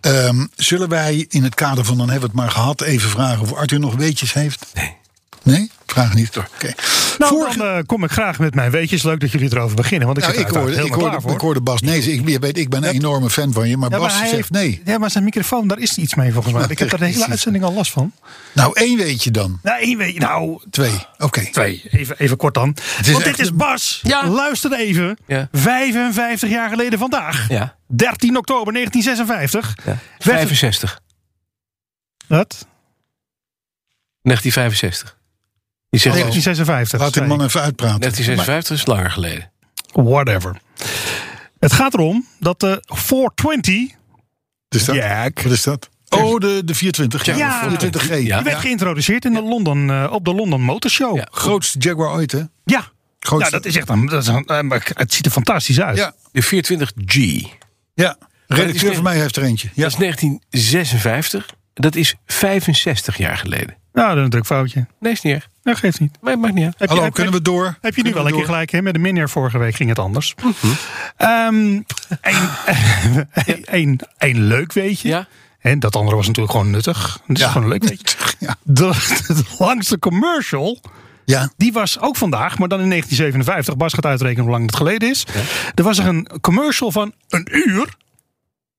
Speaker 2: Ehm, zullen wij in het kader van dan hebben we het maar gehad even vragen of Arthur nog weetjes heeft?
Speaker 7: Nee.
Speaker 2: Nee? Vraag niet. Oké.
Speaker 4: Nou,
Speaker 2: Vorige-
Speaker 4: dan eh, kom ik graag met mijn weetjes. Leuk dat jullie erover beginnen, want ik
Speaker 2: nou,
Speaker 4: zit
Speaker 2: ik
Speaker 4: er
Speaker 2: hoorde,
Speaker 4: uiteraard
Speaker 2: ik,
Speaker 4: helemaal
Speaker 2: hoorde,
Speaker 4: klaar voor.
Speaker 2: ik hoorde Bas nee. Ik, je weet, ik ben een enorme fan van je, maar Bas
Speaker 4: hij
Speaker 2: zegt
Speaker 4: heeft-
Speaker 2: nee.
Speaker 4: Ja, maar zijn microfoon, daar is iets
Speaker 2: <laughs>
Speaker 4: mee volgens mij. Ik heb er de hele
Speaker 2: Precies.
Speaker 4: uitzending al last van.
Speaker 2: Nou, één weetje dan.
Speaker 4: Nou, één weet Nou,
Speaker 2: Twee. Oké.
Speaker 4: twee. Even, even kort dan. Want
Speaker 2: echt
Speaker 4: dit is Bas.
Speaker 7: Ja.
Speaker 4: Luister even.
Speaker 7: Ja.
Speaker 4: 55 jaar geleden vandaag.
Speaker 7: Ja.
Speaker 4: 13 oktober 1956.
Speaker 7: ja.
Speaker 4: Werd-
Speaker 7: 65.
Speaker 4: Wat?
Speaker 7: 1965. Je zegt
Speaker 2: Nee,
Speaker 7: al,
Speaker 4: 1956.
Speaker 2: Oh, Laat die
Speaker 4: zei
Speaker 2: man even uitpraten.
Speaker 7: 1956 is langer geleden.
Speaker 4: ik. Whatever. Het gaat erom dat de 420
Speaker 2: Dus dat?
Speaker 4: Jack
Speaker 2: Wat is dat? Oh, de, de 24. Ja,
Speaker 4: Ja.
Speaker 2: 24G.
Speaker 7: Ja.
Speaker 4: Die werd geïntroduceerd in de London, eh, op de London Motor Show.
Speaker 7: Ja.
Speaker 4: Ja,
Speaker 2: Grootste Jaguar ooit, hè?
Speaker 4: ja
Speaker 2: Grootste.
Speaker 4: dat is echt een, dat is een, eh, maar Het ziet er fantastisch uit.
Speaker 2: Ja.
Speaker 7: De 420G.
Speaker 2: ja.
Speaker 7: dat
Speaker 2: Redacteur
Speaker 7: is-
Speaker 2: van mij heeft er eentje. Ja.
Speaker 7: Dat is 1956. Dat is 65 jaar geleden.
Speaker 4: Nou, dat is een drukfoutje.
Speaker 7: Nee, is niet erg.
Speaker 4: Dat geeft niet.
Speaker 7: Maar het maakt niet uit.
Speaker 4: Heb
Speaker 2: Hallo,
Speaker 4: heb-
Speaker 2: kunnen we door? Mhm.
Speaker 4: Heb je nu wel een keer gelijk, hè? Met de minnaar vorige week ging het anders. Ehm, Eén <laughs> één- één leuk weetje.
Speaker 7: Ja.
Speaker 4: En dat andere was natuurlijk gewoon nuttig. Het is
Speaker 2: Ja.
Speaker 4: gewoon een
Speaker 2: <laughs>
Speaker 4: leuk weetje.
Speaker 2: Ja.
Speaker 4: De, de langste commercial,
Speaker 2: Ja.
Speaker 4: die was ook vandaag, maar dan in 1957. Bas gaat uitrekenen hoe lang het geleden is. Er was er een commercial van een uur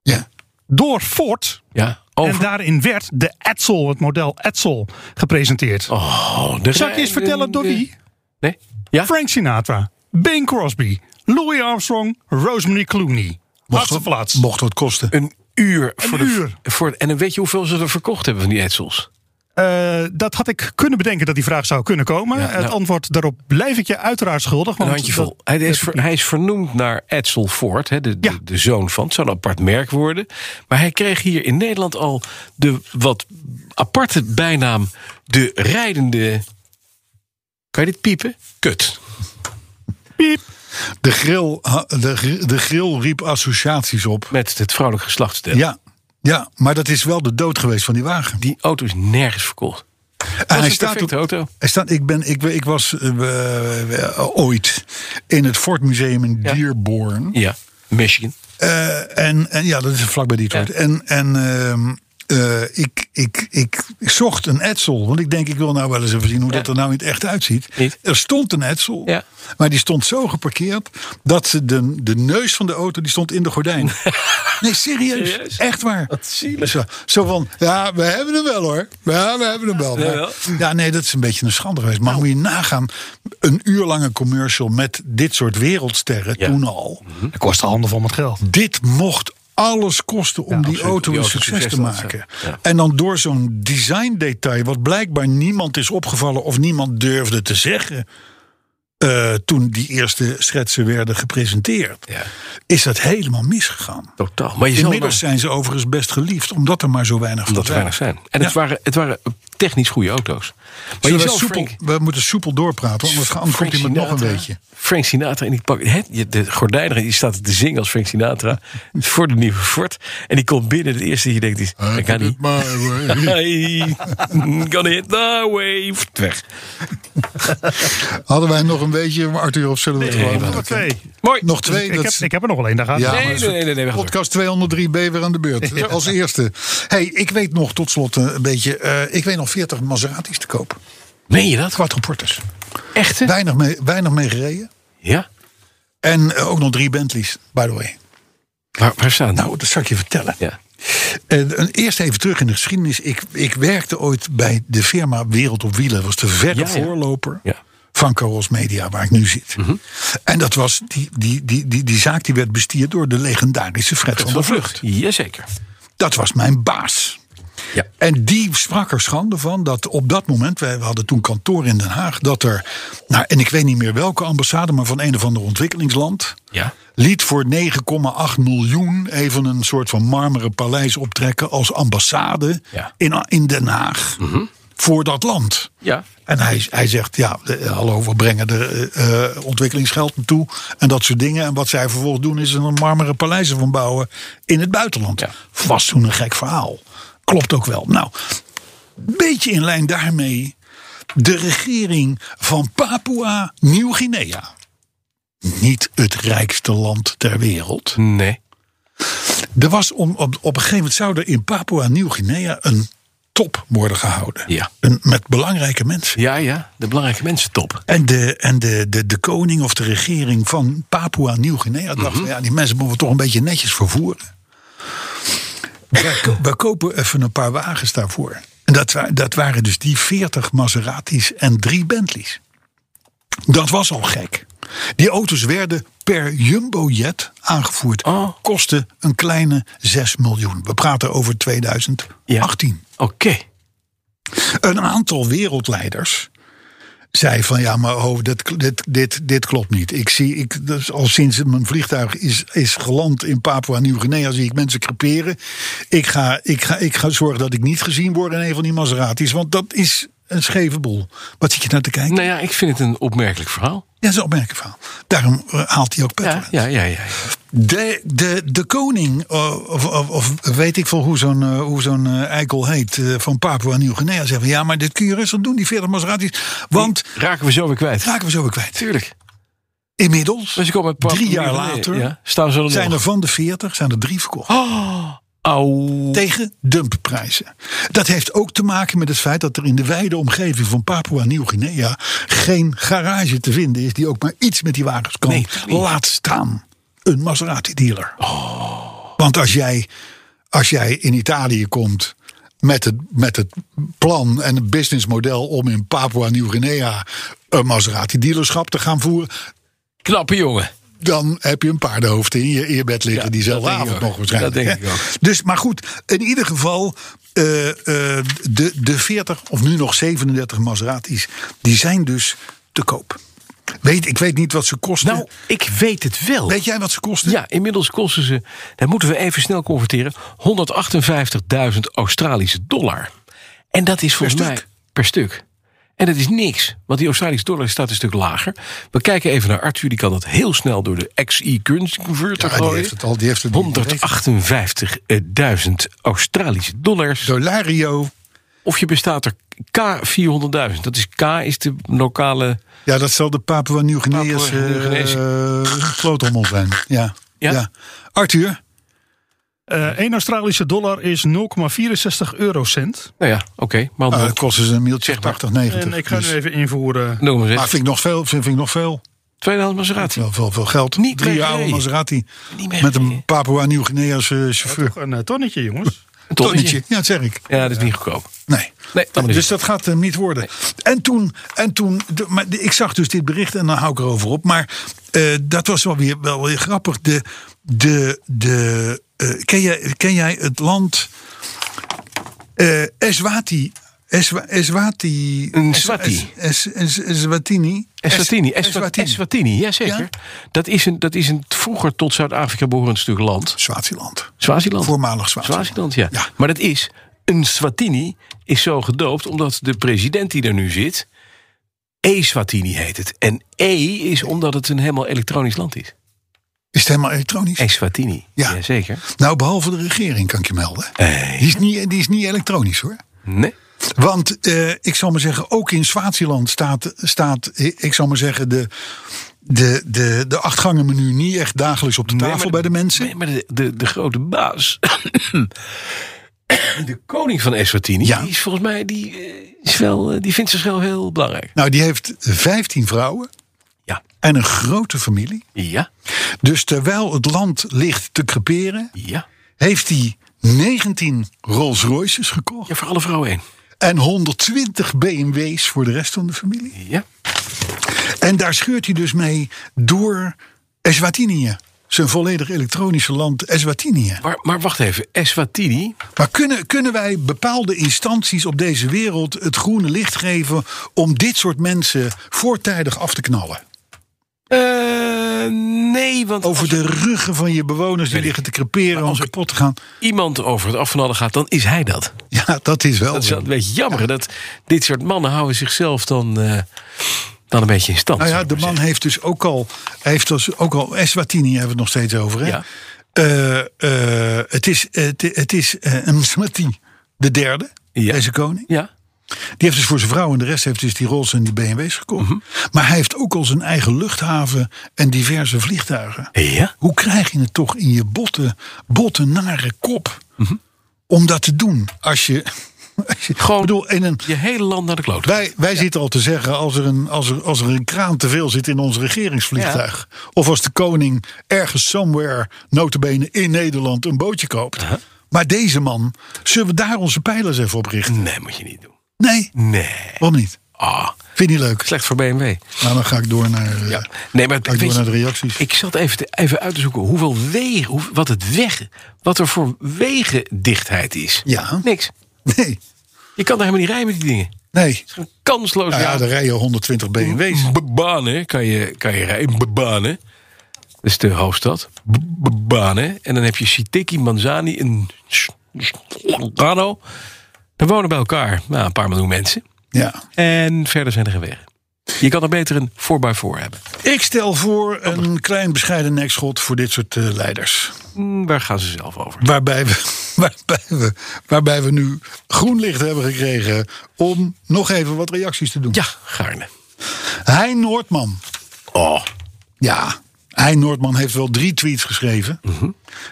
Speaker 2: Ja.
Speaker 4: door Ford.
Speaker 7: Ja,
Speaker 4: En
Speaker 7: over.
Speaker 4: daarin werd de Edsel, het model Edsel, gepresenteerd.
Speaker 7: Oh, de
Speaker 4: Zal ik je eens
Speaker 7: de-
Speaker 4: vertellen door
Speaker 7: de-
Speaker 4: wie?
Speaker 7: Nee? Ja?
Speaker 4: Frank Sinatra, Bing Crosby, Louis Armstrong, Rosemary Clooney. Laatste
Speaker 2: het-
Speaker 4: plaats.
Speaker 2: Mocht het kosten.
Speaker 7: Een uur. Voor de,
Speaker 4: uur.
Speaker 7: Voor, en dan weet je hoeveel ze er verkocht hebben van die Edsels.
Speaker 4: Eh, dat had ik kunnen bedenken dat die vraag zou kunnen komen.
Speaker 7: Ja,
Speaker 4: Het
Speaker 7: nou-
Speaker 4: antwoord daarop blijf ik je uiteraard schuldig.
Speaker 7: Een
Speaker 4: want
Speaker 7: handjevol.
Speaker 4: dat-
Speaker 7: Hij is, ver- hij is vernoemd naar Edsel Ford, hè, de,
Speaker 4: Ja.
Speaker 7: de, de zoon van. Het zou een apart merk worden. Maar hij kreeg hier in Nederland al de wat aparte bijnaam... de rijdende... Kan je dit piepen? Kut.
Speaker 4: Piep.
Speaker 2: De grill, ha- de, gr- de grill riep associaties op.
Speaker 7: Met het vrouwelijk geslachtsdeel.
Speaker 2: Ja. ja, maar dat is wel de dood geweest van die wagen.
Speaker 7: Die auto is nergens verkocht.
Speaker 2: En En hij
Speaker 7: een
Speaker 2: staat
Speaker 7: perfecte
Speaker 2: op,
Speaker 7: auto.
Speaker 2: Hij staat, ik, ben, ik, ik was eh, eh, ooit in het Ford Museum in
Speaker 7: Ja.
Speaker 2: Dearborn.
Speaker 7: Ja, Michigan.
Speaker 2: Eh, en, en ja, dat is vlakbij Detroit.
Speaker 7: Ja.
Speaker 2: En, en ehm, eh, ik, ik, ik, zocht een Edsel. Want ik denk, ik wil nou wel eens even zien hoe dat er nou in het echt uitziet.
Speaker 7: Niet.
Speaker 2: Er stond een Edsel.
Speaker 7: Ja.
Speaker 2: Maar die stond zo geparkeerd dat ze de, de neus van de auto die stond in de gordijn.
Speaker 7: <laughs>
Speaker 2: Nee, serieus.
Speaker 7: Serieus?
Speaker 2: Echt waar.
Speaker 7: Wat zielig.
Speaker 2: Zo, zo van, ja, we hebben hem wel hoor. Ja, we hebben hem wel. Maar-
Speaker 7: wel. Nou.
Speaker 2: ja, nee, dat is een beetje een schande geweest. Maar moet je nagaan, een uur lange commercial met dit soort wereldsterren
Speaker 7: Ja.
Speaker 2: toen al
Speaker 4: Dat kost handen van het geld.
Speaker 2: dit mocht alles kosten om die
Speaker 7: absoluut,
Speaker 2: auto
Speaker 7: om die
Speaker 2: een
Speaker 7: auto
Speaker 2: succes
Speaker 7: succes
Speaker 2: te
Speaker 7: te laten
Speaker 2: maken.
Speaker 7: zijn. Ja.
Speaker 2: En dan door zo'n design detail, wat blijkbaar niemand is opgevallen of niemand durfde te zeggen. eh, toen die eerste schetsen werden gepresenteerd,
Speaker 7: Ja.
Speaker 2: is dat helemaal misgegaan.
Speaker 7: Totaal. Maar je zal
Speaker 2: Inmiddels zijn ze overigens best geliefd, omdat er maar zo weinig van
Speaker 7: dat er weinig zijn. En het,
Speaker 2: Ja.
Speaker 7: waren, het waren technisch goede auto's. Maar
Speaker 2: Zullen
Speaker 7: je
Speaker 2: wij
Speaker 7: zal
Speaker 2: soepel-
Speaker 7: Frank-
Speaker 2: we moeten soepel doorpraten, anders gaan- anders komt hij met nog een
Speaker 7: Sinatra.
Speaker 2: beetje.
Speaker 7: Frank Sinatra in die pak. hè, je- de gordijner die staat te zingen als Frank
Speaker 2: <laughs>
Speaker 7: Sinatra. voor de nieuwe Ford. En die komt binnen. Het eerste die je denkt is. Dat kan niet.
Speaker 2: eh,
Speaker 7: Hey, <laughs> gonna hit the wave. Weg.
Speaker 2: <laughs> Hadden wij nog een beetje, Arthur, of zullen we het gewoon...
Speaker 4: Nog
Speaker 2: Oké.
Speaker 4: twee. Dus
Speaker 7: Mooi.
Speaker 2: Nog twee,
Speaker 4: ik,
Speaker 2: dat
Speaker 4: heb,
Speaker 2: is-
Speaker 4: ik heb er nog wel één, daar gaat
Speaker 2: Ja,
Speaker 4: het.
Speaker 7: nee,
Speaker 2: maar-
Speaker 7: nee, nee, nee, nee, we gaan door.
Speaker 2: Podcast 203B weer aan de
Speaker 7: <laughs>
Speaker 2: beurt. Als eerste. Hey, ik weet nog tot slot eh, een beetje. eh, ik weet nog 40 Maseratis te koop.
Speaker 7: Meen je dat?
Speaker 2: Quattroporters.
Speaker 7: Echte?
Speaker 2: Weinig mee, weinig mee gereden.
Speaker 7: Ja.
Speaker 2: En eh, ook nog drie Bentleys, by the way.
Speaker 7: Waar, waar staan die?
Speaker 2: Nou, dat zal ik je vertellen.
Speaker 7: Ja.
Speaker 2: En, en eerst even terug in de geschiedenis. Ik, ik werkte ooit bij de firma Wereld op Wielen. Dat was de verre
Speaker 7: Ja, ja.
Speaker 2: voorloper
Speaker 7: Ja. Mhm.
Speaker 2: van Caros Media, waar ik nu zit. En dat was die, die, die, die, die zaak die werd bestierd door de legendarische Fred van der Vlucht.
Speaker 7: Jazeker.
Speaker 2: Dat was mijn baas.
Speaker 7: Ja.
Speaker 2: En die sprak er schande van dat op dat moment, wij we hadden toen kantoor in Den Haag, dat er, nou, en ik weet niet meer welke ambassade, maar van een of ander ontwikkelingsland,
Speaker 7: Ja.
Speaker 2: liet voor 9,8 miljoen even een soort van marmeren paleis optrekken als ambassade
Speaker 7: Ja. Mhm.
Speaker 2: in, in Den Haag voor dat land.
Speaker 7: Ja.
Speaker 2: En hij, hij zegt, ja, de- hallo, we brengen er eh, eh, ontwikkelingsgeld naartoe en dat soort dingen. En wat zij vervolgens doen is er een marmeren paleizen van bouwen in het buitenland.
Speaker 7: Ja.
Speaker 2: Was toen een gek verhaal. Klopt ook wel. Nou, beetje in lijn daarmee de regering van Papua Nieuw-Guinea. Niet het rijkste land ter wereld.
Speaker 7: Nee.
Speaker 2: Er was om, op, op een gegeven moment zou er in Papua Nieuw-Guinea een top worden gehouden.
Speaker 7: Ja.
Speaker 2: Een, met belangrijke mensen.
Speaker 7: Ja, ja. De belangrijke mensen top.
Speaker 2: En de, en de, de, de koning of de regering van Papua Nieuw-Guinea dacht: ja, die mensen moeten we toch een beetje netjes vervoeren. Wij, ko- wij kopen even een paar wagens daarvoor. En dat, wa- dat waren dus die 40 Maseratis en drie Bentleys. Dat was al gek. Die auto's werden per jumbojet aangevoerd.
Speaker 7: Oh.
Speaker 2: Kosten een kleine 6 miljoen. We praten over 2018
Speaker 7: Oké.
Speaker 2: een aantal wereldleiders zei van ja, maar oh, dit, dit, dit, dit klopt niet. Ik zie, ik, dus al sinds mijn vliegtuig is, is geland in Papua Nieuw-Guinea, zie ik mensen creperen. Ik ga, ik, ga, ik ga zorgen dat ik niet gezien word in een van die Maseratis, want dat is een scheve boel. Wat zit je nou te kijken?
Speaker 7: Nou ja, ik vind het een opmerkelijk verhaal.
Speaker 2: Ja, dat is een opmerkelijk verhaal. Daarom eh, haalt hij ook petrol.
Speaker 7: Ja, ja, ja. ja.
Speaker 2: De, de, de koning, eh, of, of, of weet ik veel hoe zo'n eh, hoe zo'n eh, eikel heet, eh, van Papua Nieuw-Guinea, zeggen ja, maar dit kun je rustig doen, die 40 Maseratis. Want
Speaker 7: Raken we zo weer kwijt.
Speaker 2: raken we zo weer kwijt.
Speaker 7: Tuurlijk.
Speaker 2: Inmiddels,
Speaker 7: Dus ik kom met
Speaker 2: drie jaar later,
Speaker 7: ja, staan ze er
Speaker 2: zijn
Speaker 7: nog. Oh.
Speaker 2: er van de 40 zijn er drie verkocht.
Speaker 7: Au.
Speaker 2: Tegen dumpprijzen. Dat heeft ook te maken met het feit dat er in de wijde omgeving van Papua Nieuw-Guinea geen garage te vinden is die ook maar iets met die wagens kan.
Speaker 7: Nee, toch niet?
Speaker 2: Laat staan een Maserati dealer.
Speaker 7: Oh.
Speaker 2: Want als jij, als jij in Italië komt met het, met het plan en het businessmodel om in Papua Nieuw-Guinea een Maserati dealerschap te gaan voeren,
Speaker 7: Knappe jongen.
Speaker 2: dan heb je een paardenhoofd in je eerbed liggen
Speaker 7: Ja,
Speaker 2: diezelfde
Speaker 7: dat denk ik
Speaker 2: avond
Speaker 7: ook.
Speaker 2: nog waarschijnlijk.
Speaker 7: Dat denk ik
Speaker 2: hè?
Speaker 7: ook.
Speaker 2: Dus, maar goed, in ieder geval, eh, eh, de, de 40 of nu nog 37 Maseratis, die zijn dus te koop. Weet, ik weet niet wat ze kosten.
Speaker 7: Nou, ik weet het wel.
Speaker 2: weet jij wat ze kosten?
Speaker 7: Ja, inmiddels kosten ze, daar moeten we even snel converteren, 158.000 Australische dollar. En dat is volgens mij
Speaker 2: stuk?
Speaker 7: per stuk. En dat is niks, want die Australische dollar staat een stuk lager. We kijken even naar Arthur, die kan dat heel snel door de XI currency converter
Speaker 2: Ja, Ah, die
Speaker 7: gooien.
Speaker 2: heeft het al, die heeft het
Speaker 7: 158.000 Australische dollars.
Speaker 2: Dolario,
Speaker 7: Of je bestaat er K400.000. Dat is K is de lokale.
Speaker 2: Ja, dat zal de Papua Nieuw-Guinea's
Speaker 7: Papua Nieuw-Guinea's.
Speaker 2: eh, sloothommel zijn. Ja.
Speaker 7: Ja?
Speaker 2: Ja. Arthur,
Speaker 4: Eh 1 Australische dollar is 0,64 eurocent.
Speaker 7: Nou ja, oké. maar
Speaker 2: ah,
Speaker 7: dan
Speaker 2: dat kost dus een mailtje
Speaker 7: Zeg maar.
Speaker 2: 80, 90.
Speaker 4: En ik ga nu
Speaker 2: Dus-
Speaker 4: even invoeren.
Speaker 7: noem maar
Speaker 2: maar
Speaker 7: eens.
Speaker 2: vind ik nog veel, vind, vind ik nog veel.
Speaker 7: Tweedehands Maserati.
Speaker 2: Wel veel, veel geld.
Speaker 7: Niet
Speaker 2: Drie
Speaker 7: meer
Speaker 2: jaar oude
Speaker 7: gereden.
Speaker 2: Maserati.
Speaker 7: Niet meer
Speaker 2: Met een
Speaker 7: gereden.
Speaker 2: Papua Nieuw-Guinea's eh, chauffeur.
Speaker 4: Een eh, tonnetje, jongens.
Speaker 7: Een
Speaker 2: Tonnetje. Ja, dat zeg ik.
Speaker 7: Ja, dat is niet goedkoop.
Speaker 2: Nee.
Speaker 7: Nee, dat is
Speaker 2: dus dat gaat hem niet worden. En toen, en toen de- maar de- ik zag dus dit bericht en dan hou ik erover op. Maar eh, dat was wel weer, wel weer grappig. De, de, de, eh, ken, jij, ken jij het land eh, Eswati? Eswa- Eswati.
Speaker 7: Een Swati.
Speaker 2: Es, es, es- Eswatini.
Speaker 7: Eswatini.
Speaker 2: Es-
Speaker 7: Eswatini. Eswatini, jazeker.
Speaker 2: Ja?
Speaker 7: Dat, is een, dat is een vroeger tot Zuid-Afrika behorend stuk land.
Speaker 2: Swaziland.
Speaker 7: Swaziland.
Speaker 2: Voormalig Swaziland.
Speaker 7: Swaziland, ja.
Speaker 2: Ja.
Speaker 7: Maar dat is, een Swatini is zo gedoopt omdat de president die er nu zit, E-Swatini heet het. En E is omdat het een helemaal elektronisch land is.
Speaker 2: Is het helemaal elektronisch?
Speaker 7: E-Swatini,
Speaker 2: Ja.
Speaker 7: jazeker.
Speaker 2: Nou, behalve de regering kan ik je melden. Die, is niet, die is niet elektronisch hoor.
Speaker 7: Nee.
Speaker 2: Want eh, ik zal maar zeggen, ook in Swaziland staat, staat eh, ik zal maar zeggen, de, de, de, de achtgangenmenu niet echt dagelijks op de tafel
Speaker 7: maar
Speaker 2: bij de mensen.
Speaker 7: Nee, maar de, de, de grote baas, <coughs> de koning van Eswatini,
Speaker 2: Ja.
Speaker 7: die is volgens mij, die, eh, is wel, eh, die vindt zichzelf heel belangrijk.
Speaker 2: Nou, die heeft 15 vrouwen
Speaker 7: Ja.
Speaker 2: en een grote familie.
Speaker 7: Ja,
Speaker 2: Dus terwijl het land ligt te creperen,
Speaker 7: ja.
Speaker 2: heeft hij 19 Rolls Royces gekocht
Speaker 7: Ja, voor alle vrouwen één.
Speaker 2: en 120 BMW's voor de rest van de familie.
Speaker 7: Ja.
Speaker 2: En daar scheurt hij dus mee door Eswatinië. Zijn volledig elektronische land Eswatinië.
Speaker 7: Maar, maar wacht even, Eswatini,
Speaker 2: Maar kunnen, kunnen wij bepaalde instanties op deze wereld het groene licht geven om dit soort mensen voortijdig af te knallen?
Speaker 7: Eh, nee, want
Speaker 2: Over
Speaker 7: als
Speaker 2: de ruggen van je bewoners die liggen te creperen om kapot te gaan.
Speaker 7: iemand over het afvallen gaat, dan is hij dat.
Speaker 2: Ja, dat is wel.
Speaker 7: Dat is
Speaker 2: zo.
Speaker 7: wel een beetje jammer. Dat dit soort mannen houden zichzelf dan, eh, dan een beetje in stand.
Speaker 2: Nou ja,
Speaker 7: zou ik
Speaker 2: de
Speaker 7: maar
Speaker 2: man heeft dus ook al, hij heeft dus ook al Eswatini hebben we het nog steeds over. Hè?
Speaker 7: Ja.
Speaker 2: Eh, eh, het is, het, het is eh, een Smati, de derde,
Speaker 7: Ja.
Speaker 2: deze koning.
Speaker 7: zeggen. Ja,
Speaker 2: Die heeft dus voor zijn vrouw en de rest heeft dus die Rolls en die BMW's gekocht. Maar hij heeft ook al zijn eigen luchthaven en diverse vliegtuigen.
Speaker 7: ja?
Speaker 2: Hoe krijg je het toch in je botte, botte nare kop om dat te doen? Als je, <laughs> als je
Speaker 7: Gewoon-
Speaker 2: ik bedoel, in een,
Speaker 7: je hele land naar de kloot.
Speaker 2: wij, wij zitten al te zeggen, als er, een, als, er, als er een kraan te veel zit in ons regeringsvliegtuig. Of als de koning ergens somewhere, notabene in Nederland, een bootje koopt. Maar deze man, zullen we daar onze pijlers even op richten?
Speaker 7: Nee, moet je niet doen.
Speaker 2: Nee,
Speaker 7: Nee.
Speaker 2: waarom niet?
Speaker 7: Ah,
Speaker 2: Vind je niet leuk?
Speaker 7: slecht voor BMW.
Speaker 2: Nou, dan ga ik door naar, eh,
Speaker 7: Ja. Nee, maar
Speaker 2: ga
Speaker 7: weet
Speaker 2: ik door
Speaker 7: je,
Speaker 2: naar de reacties.
Speaker 7: ik zat even, te- even uit te zoeken hoeveel wegen, hoe, wat het weg, wat er voor wegendichtheid is.
Speaker 2: Ja.
Speaker 7: Niks.
Speaker 2: Nee,
Speaker 7: Je kan daar helemaal niet rijden met die dingen. Het
Speaker 2: nee.
Speaker 7: is gewoon kansloos.
Speaker 2: Nou ja,
Speaker 7: Ja,
Speaker 2: er rijden 120 BMW's.
Speaker 7: Bewezen. Bebanen kan je, kan je rijden. Bebanen. Dat is de hoofdstad. B- Bebanen. En dan heb je Sitiki, Manzani en S- S- Rano. Daar wonen bij elkaar nou, een paar miljoen mensen.
Speaker 2: Ja.
Speaker 7: En verder zijn er geen wegen. Je kan er beter een 4x4 hebben.
Speaker 2: Ik stel voor een klein bescheiden nekschot voor dit soort eh, leiders.
Speaker 7: Hm, Waar gaan ze zelf over?
Speaker 2: Waarbij we, <laughs> waarbij, we, waarbij we nu groen licht hebben gekregen om nog even wat reacties te doen.
Speaker 7: Ja, gaarne.
Speaker 2: Hein Noordman.
Speaker 7: Oh.
Speaker 2: Ja, Hein Noordman heeft wel drie tweets geschreven.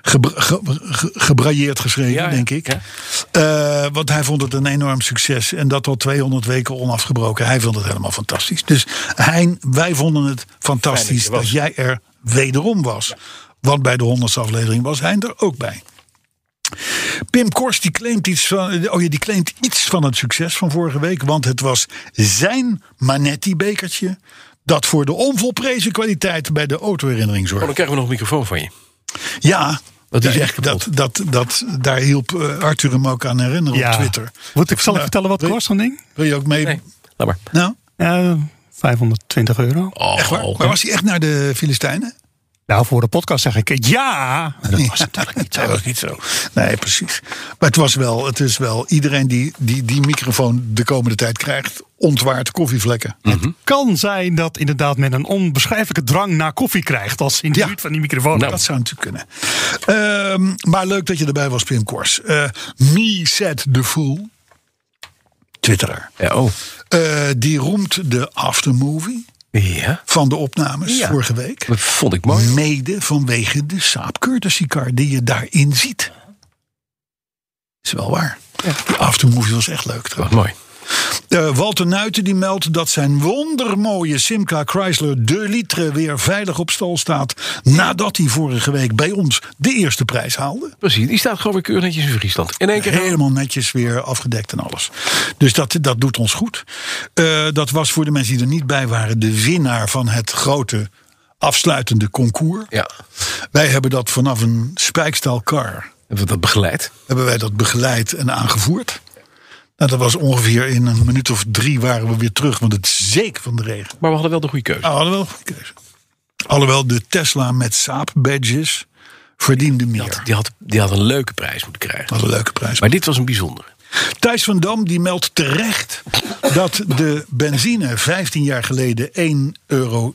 Speaker 2: Gebra- ge- ge- gebrailleerd geschreven,
Speaker 7: Mhm. Ja, ja,
Speaker 2: denk ik.
Speaker 7: ja.
Speaker 2: Eh, want hij vond het een enorm succes. En dat al 200 weken onafgebroken. Hij vond het helemaal fantastisch. Dus Hein, wij vonden het fantastisch dat, jij er wederom was. Want bij de 100 aflevering was Hein er ook bij. Pim Kors die claimt, iets van, oh ja, die claimt iets van het succes van vorige week. Want het was zijn Manetti-bekertje. Dat voor de onvolprezen kwaliteit bij de autoherinnering
Speaker 7: Oh,
Speaker 2: zorgde.
Speaker 7: dan krijgen we nog een microfoon van je.
Speaker 4: Oh,
Speaker 2: Ja,
Speaker 7: Dat is
Speaker 2: daar-
Speaker 7: echt kapot.
Speaker 2: dat, dat, dat, daar hielp eh, Arthur hem ook aan herinneren op Twitter.
Speaker 4: Moet ik, zal ik
Speaker 2: Nou,
Speaker 4: vertellen wat
Speaker 2: wil
Speaker 4: het
Speaker 2: je-
Speaker 4: kost, zo'n ding?
Speaker 2: Wil je ook mee?
Speaker 7: Nee, laat maar.
Speaker 2: Nou,
Speaker 4: Ja, 520 Eh, euro.
Speaker 7: Oh,
Speaker 2: echt waar? Maar was hij echt naar de Filistijnen?
Speaker 4: Nou, voor de podcast zeg ik ja. Maar Nou, dat was
Speaker 2: Ja.
Speaker 4: natuurlijk niet zo.
Speaker 2: Dat was niet zo. Nee, precies. Maar het was wel, het is wel iedereen die die, die microfoon de komende tijd krijgt, ontwaart koffievlekken.
Speaker 4: Kan zijn dat inderdaad men een onbeschrijfelijke drang naar koffie krijgt. Als ze in de
Speaker 2: Ja.
Speaker 4: buurt van die microfoon.
Speaker 7: Nou.
Speaker 2: Dat zou natuurlijk kunnen. Ehm, maar leuk dat je erbij was, Pim Kors. Eh, me said the fool. twitteraar.
Speaker 3: Ja, oh.
Speaker 2: Eh, die roemt de aftermovie
Speaker 3: Ja,
Speaker 2: van de opnames vorige week.
Speaker 3: dat vond ik
Speaker 2: Mm.
Speaker 3: mooi.
Speaker 2: Mede vanwege de Saab courtesy car die je daarin ziet. Is wel waar. Die aftermovie was echt leuk
Speaker 3: Wat
Speaker 2: trouwens.
Speaker 3: mooi.
Speaker 2: Eh, Walter Nuiten die meldt dat zijn wondermooie Simca Chrysler de Litre weer veilig op stal staat. Nadat hij vorige week bij ons de eerste prijs haalde.
Speaker 3: Precies, die staat gewoon weer keurig netjes in Friesland. In één keer
Speaker 2: Helemaal netjes weer afgedekt en alles. Dus dat, dat doet ons goed. Eh, dat was voor de mensen die er niet bij waren de winnaar van het grote afsluitende concours.
Speaker 3: Ja,
Speaker 2: Wij hebben dat vanaf een spijkstalkar
Speaker 3: hebben we dat begeleid.
Speaker 2: hebben wij dat begeleid en aangevoerd. Nou, dat was ongeveer in een minuut of drie waren we weer terug, want het zeek van de regen.
Speaker 3: Maar we hadden wel de goede keuze.
Speaker 2: Nou, hadden we wel een goede keuze. Alhoewel de Tesla met Saab badges verdiende meer.
Speaker 3: Die had, die had een leuke prijs moeten krijgen.
Speaker 2: Dat was een leuke prijs.
Speaker 3: Maar dit was een bijzondere.
Speaker 2: Thijs van Dam die meldt terecht dat de benzine 15 jaar geleden 1,37 euro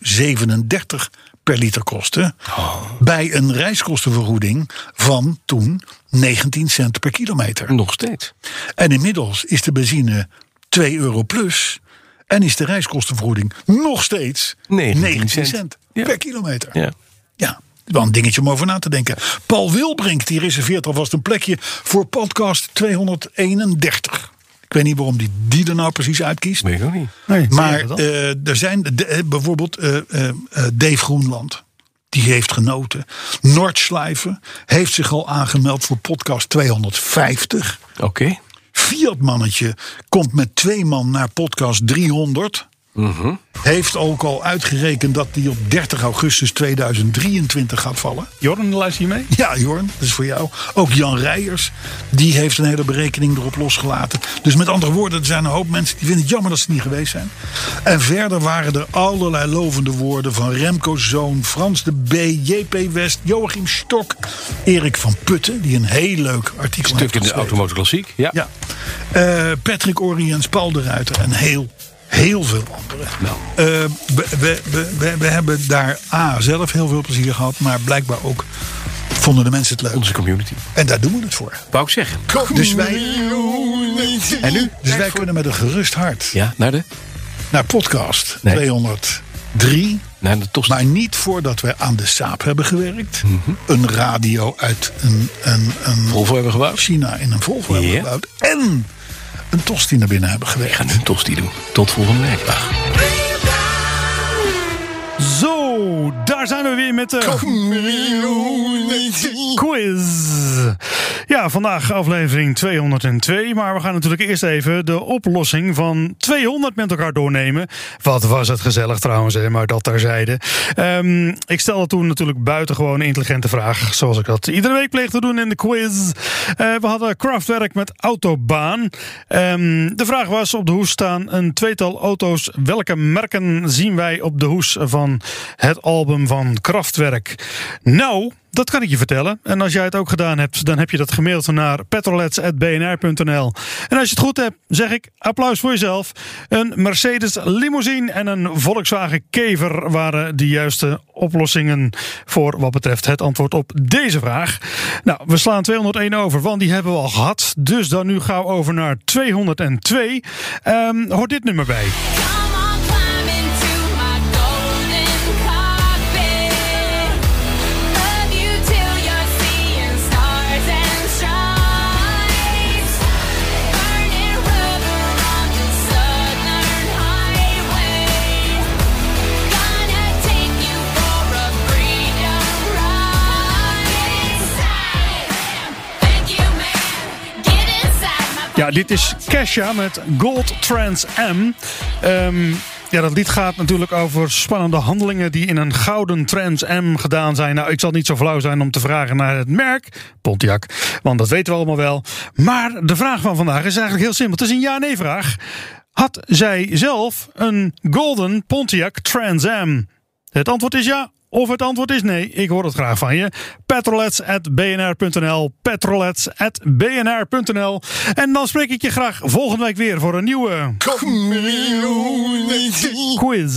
Speaker 2: per liter kostte.
Speaker 3: Oh.
Speaker 2: Bij een reiskostenvergoeding van toen 19 cent per kilometer.
Speaker 3: Nog steeds.
Speaker 2: En inmiddels is de benzine 2 euro plus. En is de reiskostenvergoeding nog steeds
Speaker 3: 19
Speaker 2: 19,
Speaker 3: cent.
Speaker 2: cent,
Speaker 3: Ja.
Speaker 2: per kilometer.
Speaker 3: Ja.
Speaker 2: Ja, wel een dingetje om over na te denken. Paul Wilbrink die reserveert alvast een plekje voor podcast 231. Ik weet niet waarom die, die er nou precies uitkiest.
Speaker 3: Weet ik ook niet.
Speaker 4: Nee,
Speaker 2: maar
Speaker 4: zie je dat?
Speaker 2: eh, er zijn de- eh, bijvoorbeeld eh, eh, eh, Dave Groenland. Die heeft genoten. Noordschleifen heeft zich al aangemeld voor podcast 250.
Speaker 3: Oké.
Speaker 2: Fiat-mannetje komt met twee man naar podcast 300. Heeft ook al uitgerekend dat die op 30 augustus 2023 gaat vallen.
Speaker 4: Jorn, luister je mee?
Speaker 2: Ja, Jorn, dat is voor jou. Ook Jan Rijers, die heeft een hele berekening erop losgelaten. Dus met andere woorden, er zijn een hoop mensen die vinden het jammer dat ze niet geweest zijn. En verder waren er allerlei lovende woorden van Remco Zoon, Frans de B, JP West, Joachim Stok, Erik van Putten, die een heel leuk artikel heeft
Speaker 3: Stuk in de
Speaker 2: geschreven.
Speaker 3: Automotor Klassiek. Ja.
Speaker 2: Ja. Eh, Patrick Oriens, Paul de Ruiter en heel, heel veel anderen.
Speaker 3: Nou.
Speaker 2: Eh, we, we, we, we, we hebben daar A, zelf heel veel plezier gehad, maar blijkbaar ook vonden de mensen het leuk.
Speaker 3: Onze community.
Speaker 2: En daar doen we het voor.
Speaker 3: Wou ik zeggen.
Speaker 2: Dus wij,
Speaker 3: En nu?
Speaker 2: dus wij kunnen met een gerust hart
Speaker 3: Ja, naar de,
Speaker 2: naar podcast
Speaker 3: Nee.
Speaker 2: 203.
Speaker 3: naar de tost.
Speaker 2: Maar niet voordat we aan de saap hebben gewerkt.
Speaker 3: Mhm.
Speaker 2: Een radio uit een, een, een
Speaker 3: Volvo hebben gebouwd.
Speaker 2: China in een Volvo
Speaker 3: Ja.
Speaker 2: hebben gebouwd. En een tosti naar binnen hebben gewerkt.
Speaker 3: Ik ga nu een tosti doen. Tot volgende week.
Speaker 4: Zo, daar zijn we weer met de quiz. Ja, vandaag aflevering 202. Maar we gaan natuurlijk eerst even de oplossing van 200 met elkaar doornemen. Wat was het gezellig trouwens, hè, maar dat terzijde. Ehm ik stelde toen natuurlijk buitengewoon een intelligente vraag. Zoals ik dat iedere week pleeg te doen in de quiz. Eh, we hadden Kraftwerk met Autobaan. Ehm, de vraag was: op de hoes staan een tweetal auto's. Welke merken zien wij op de hoes van het album van Kraftwerk? Nou. Dat kan ik je vertellen. En als jij het ook gedaan hebt, dan heb je dat gemaild naar petrolets.bnr.nl. En als je het goed hebt, zeg ik applaus voor jezelf. Een Mercedes limousine en een Volkswagen Kever waren de juiste oplossingen voor wat betreft het antwoord op deze vraag. Nou, we slaan 201 over, want die hebben we al gehad. Dus dan nu gaan we over naar 202. Ehm hoort dit nummer bij.
Speaker 8: Come on, climb into my golden cockpit. Love you till you're seeing stars and stripes. Burning rubber on the southern highway. Gonna take you for a freedom ride. Thank you, man. Get inside my.
Speaker 4: Ja, dit is Kesha met Gold Trans M. Ehm, ja, dat lied gaat natuurlijk over spannende handelingen die in een gouden Trans M gedaan zijn. Nou, ik zal niet zo flauw zijn om te vragen naar het merk Pontiac, want dat weten we allemaal wel. Maar de vraag van vandaag is eigenlijk heel simpel. Het is een ja-nee-vraag. Had zij zelf een golden Pontiac Trans Am? Het antwoord is ja. Of het antwoord is nee, ik hoor het graag van je. Petrolets.bnr.nl Petrolets.bnr.nl En dan spreek ik je graag volgende week weer voor een nieuwe... Quiz.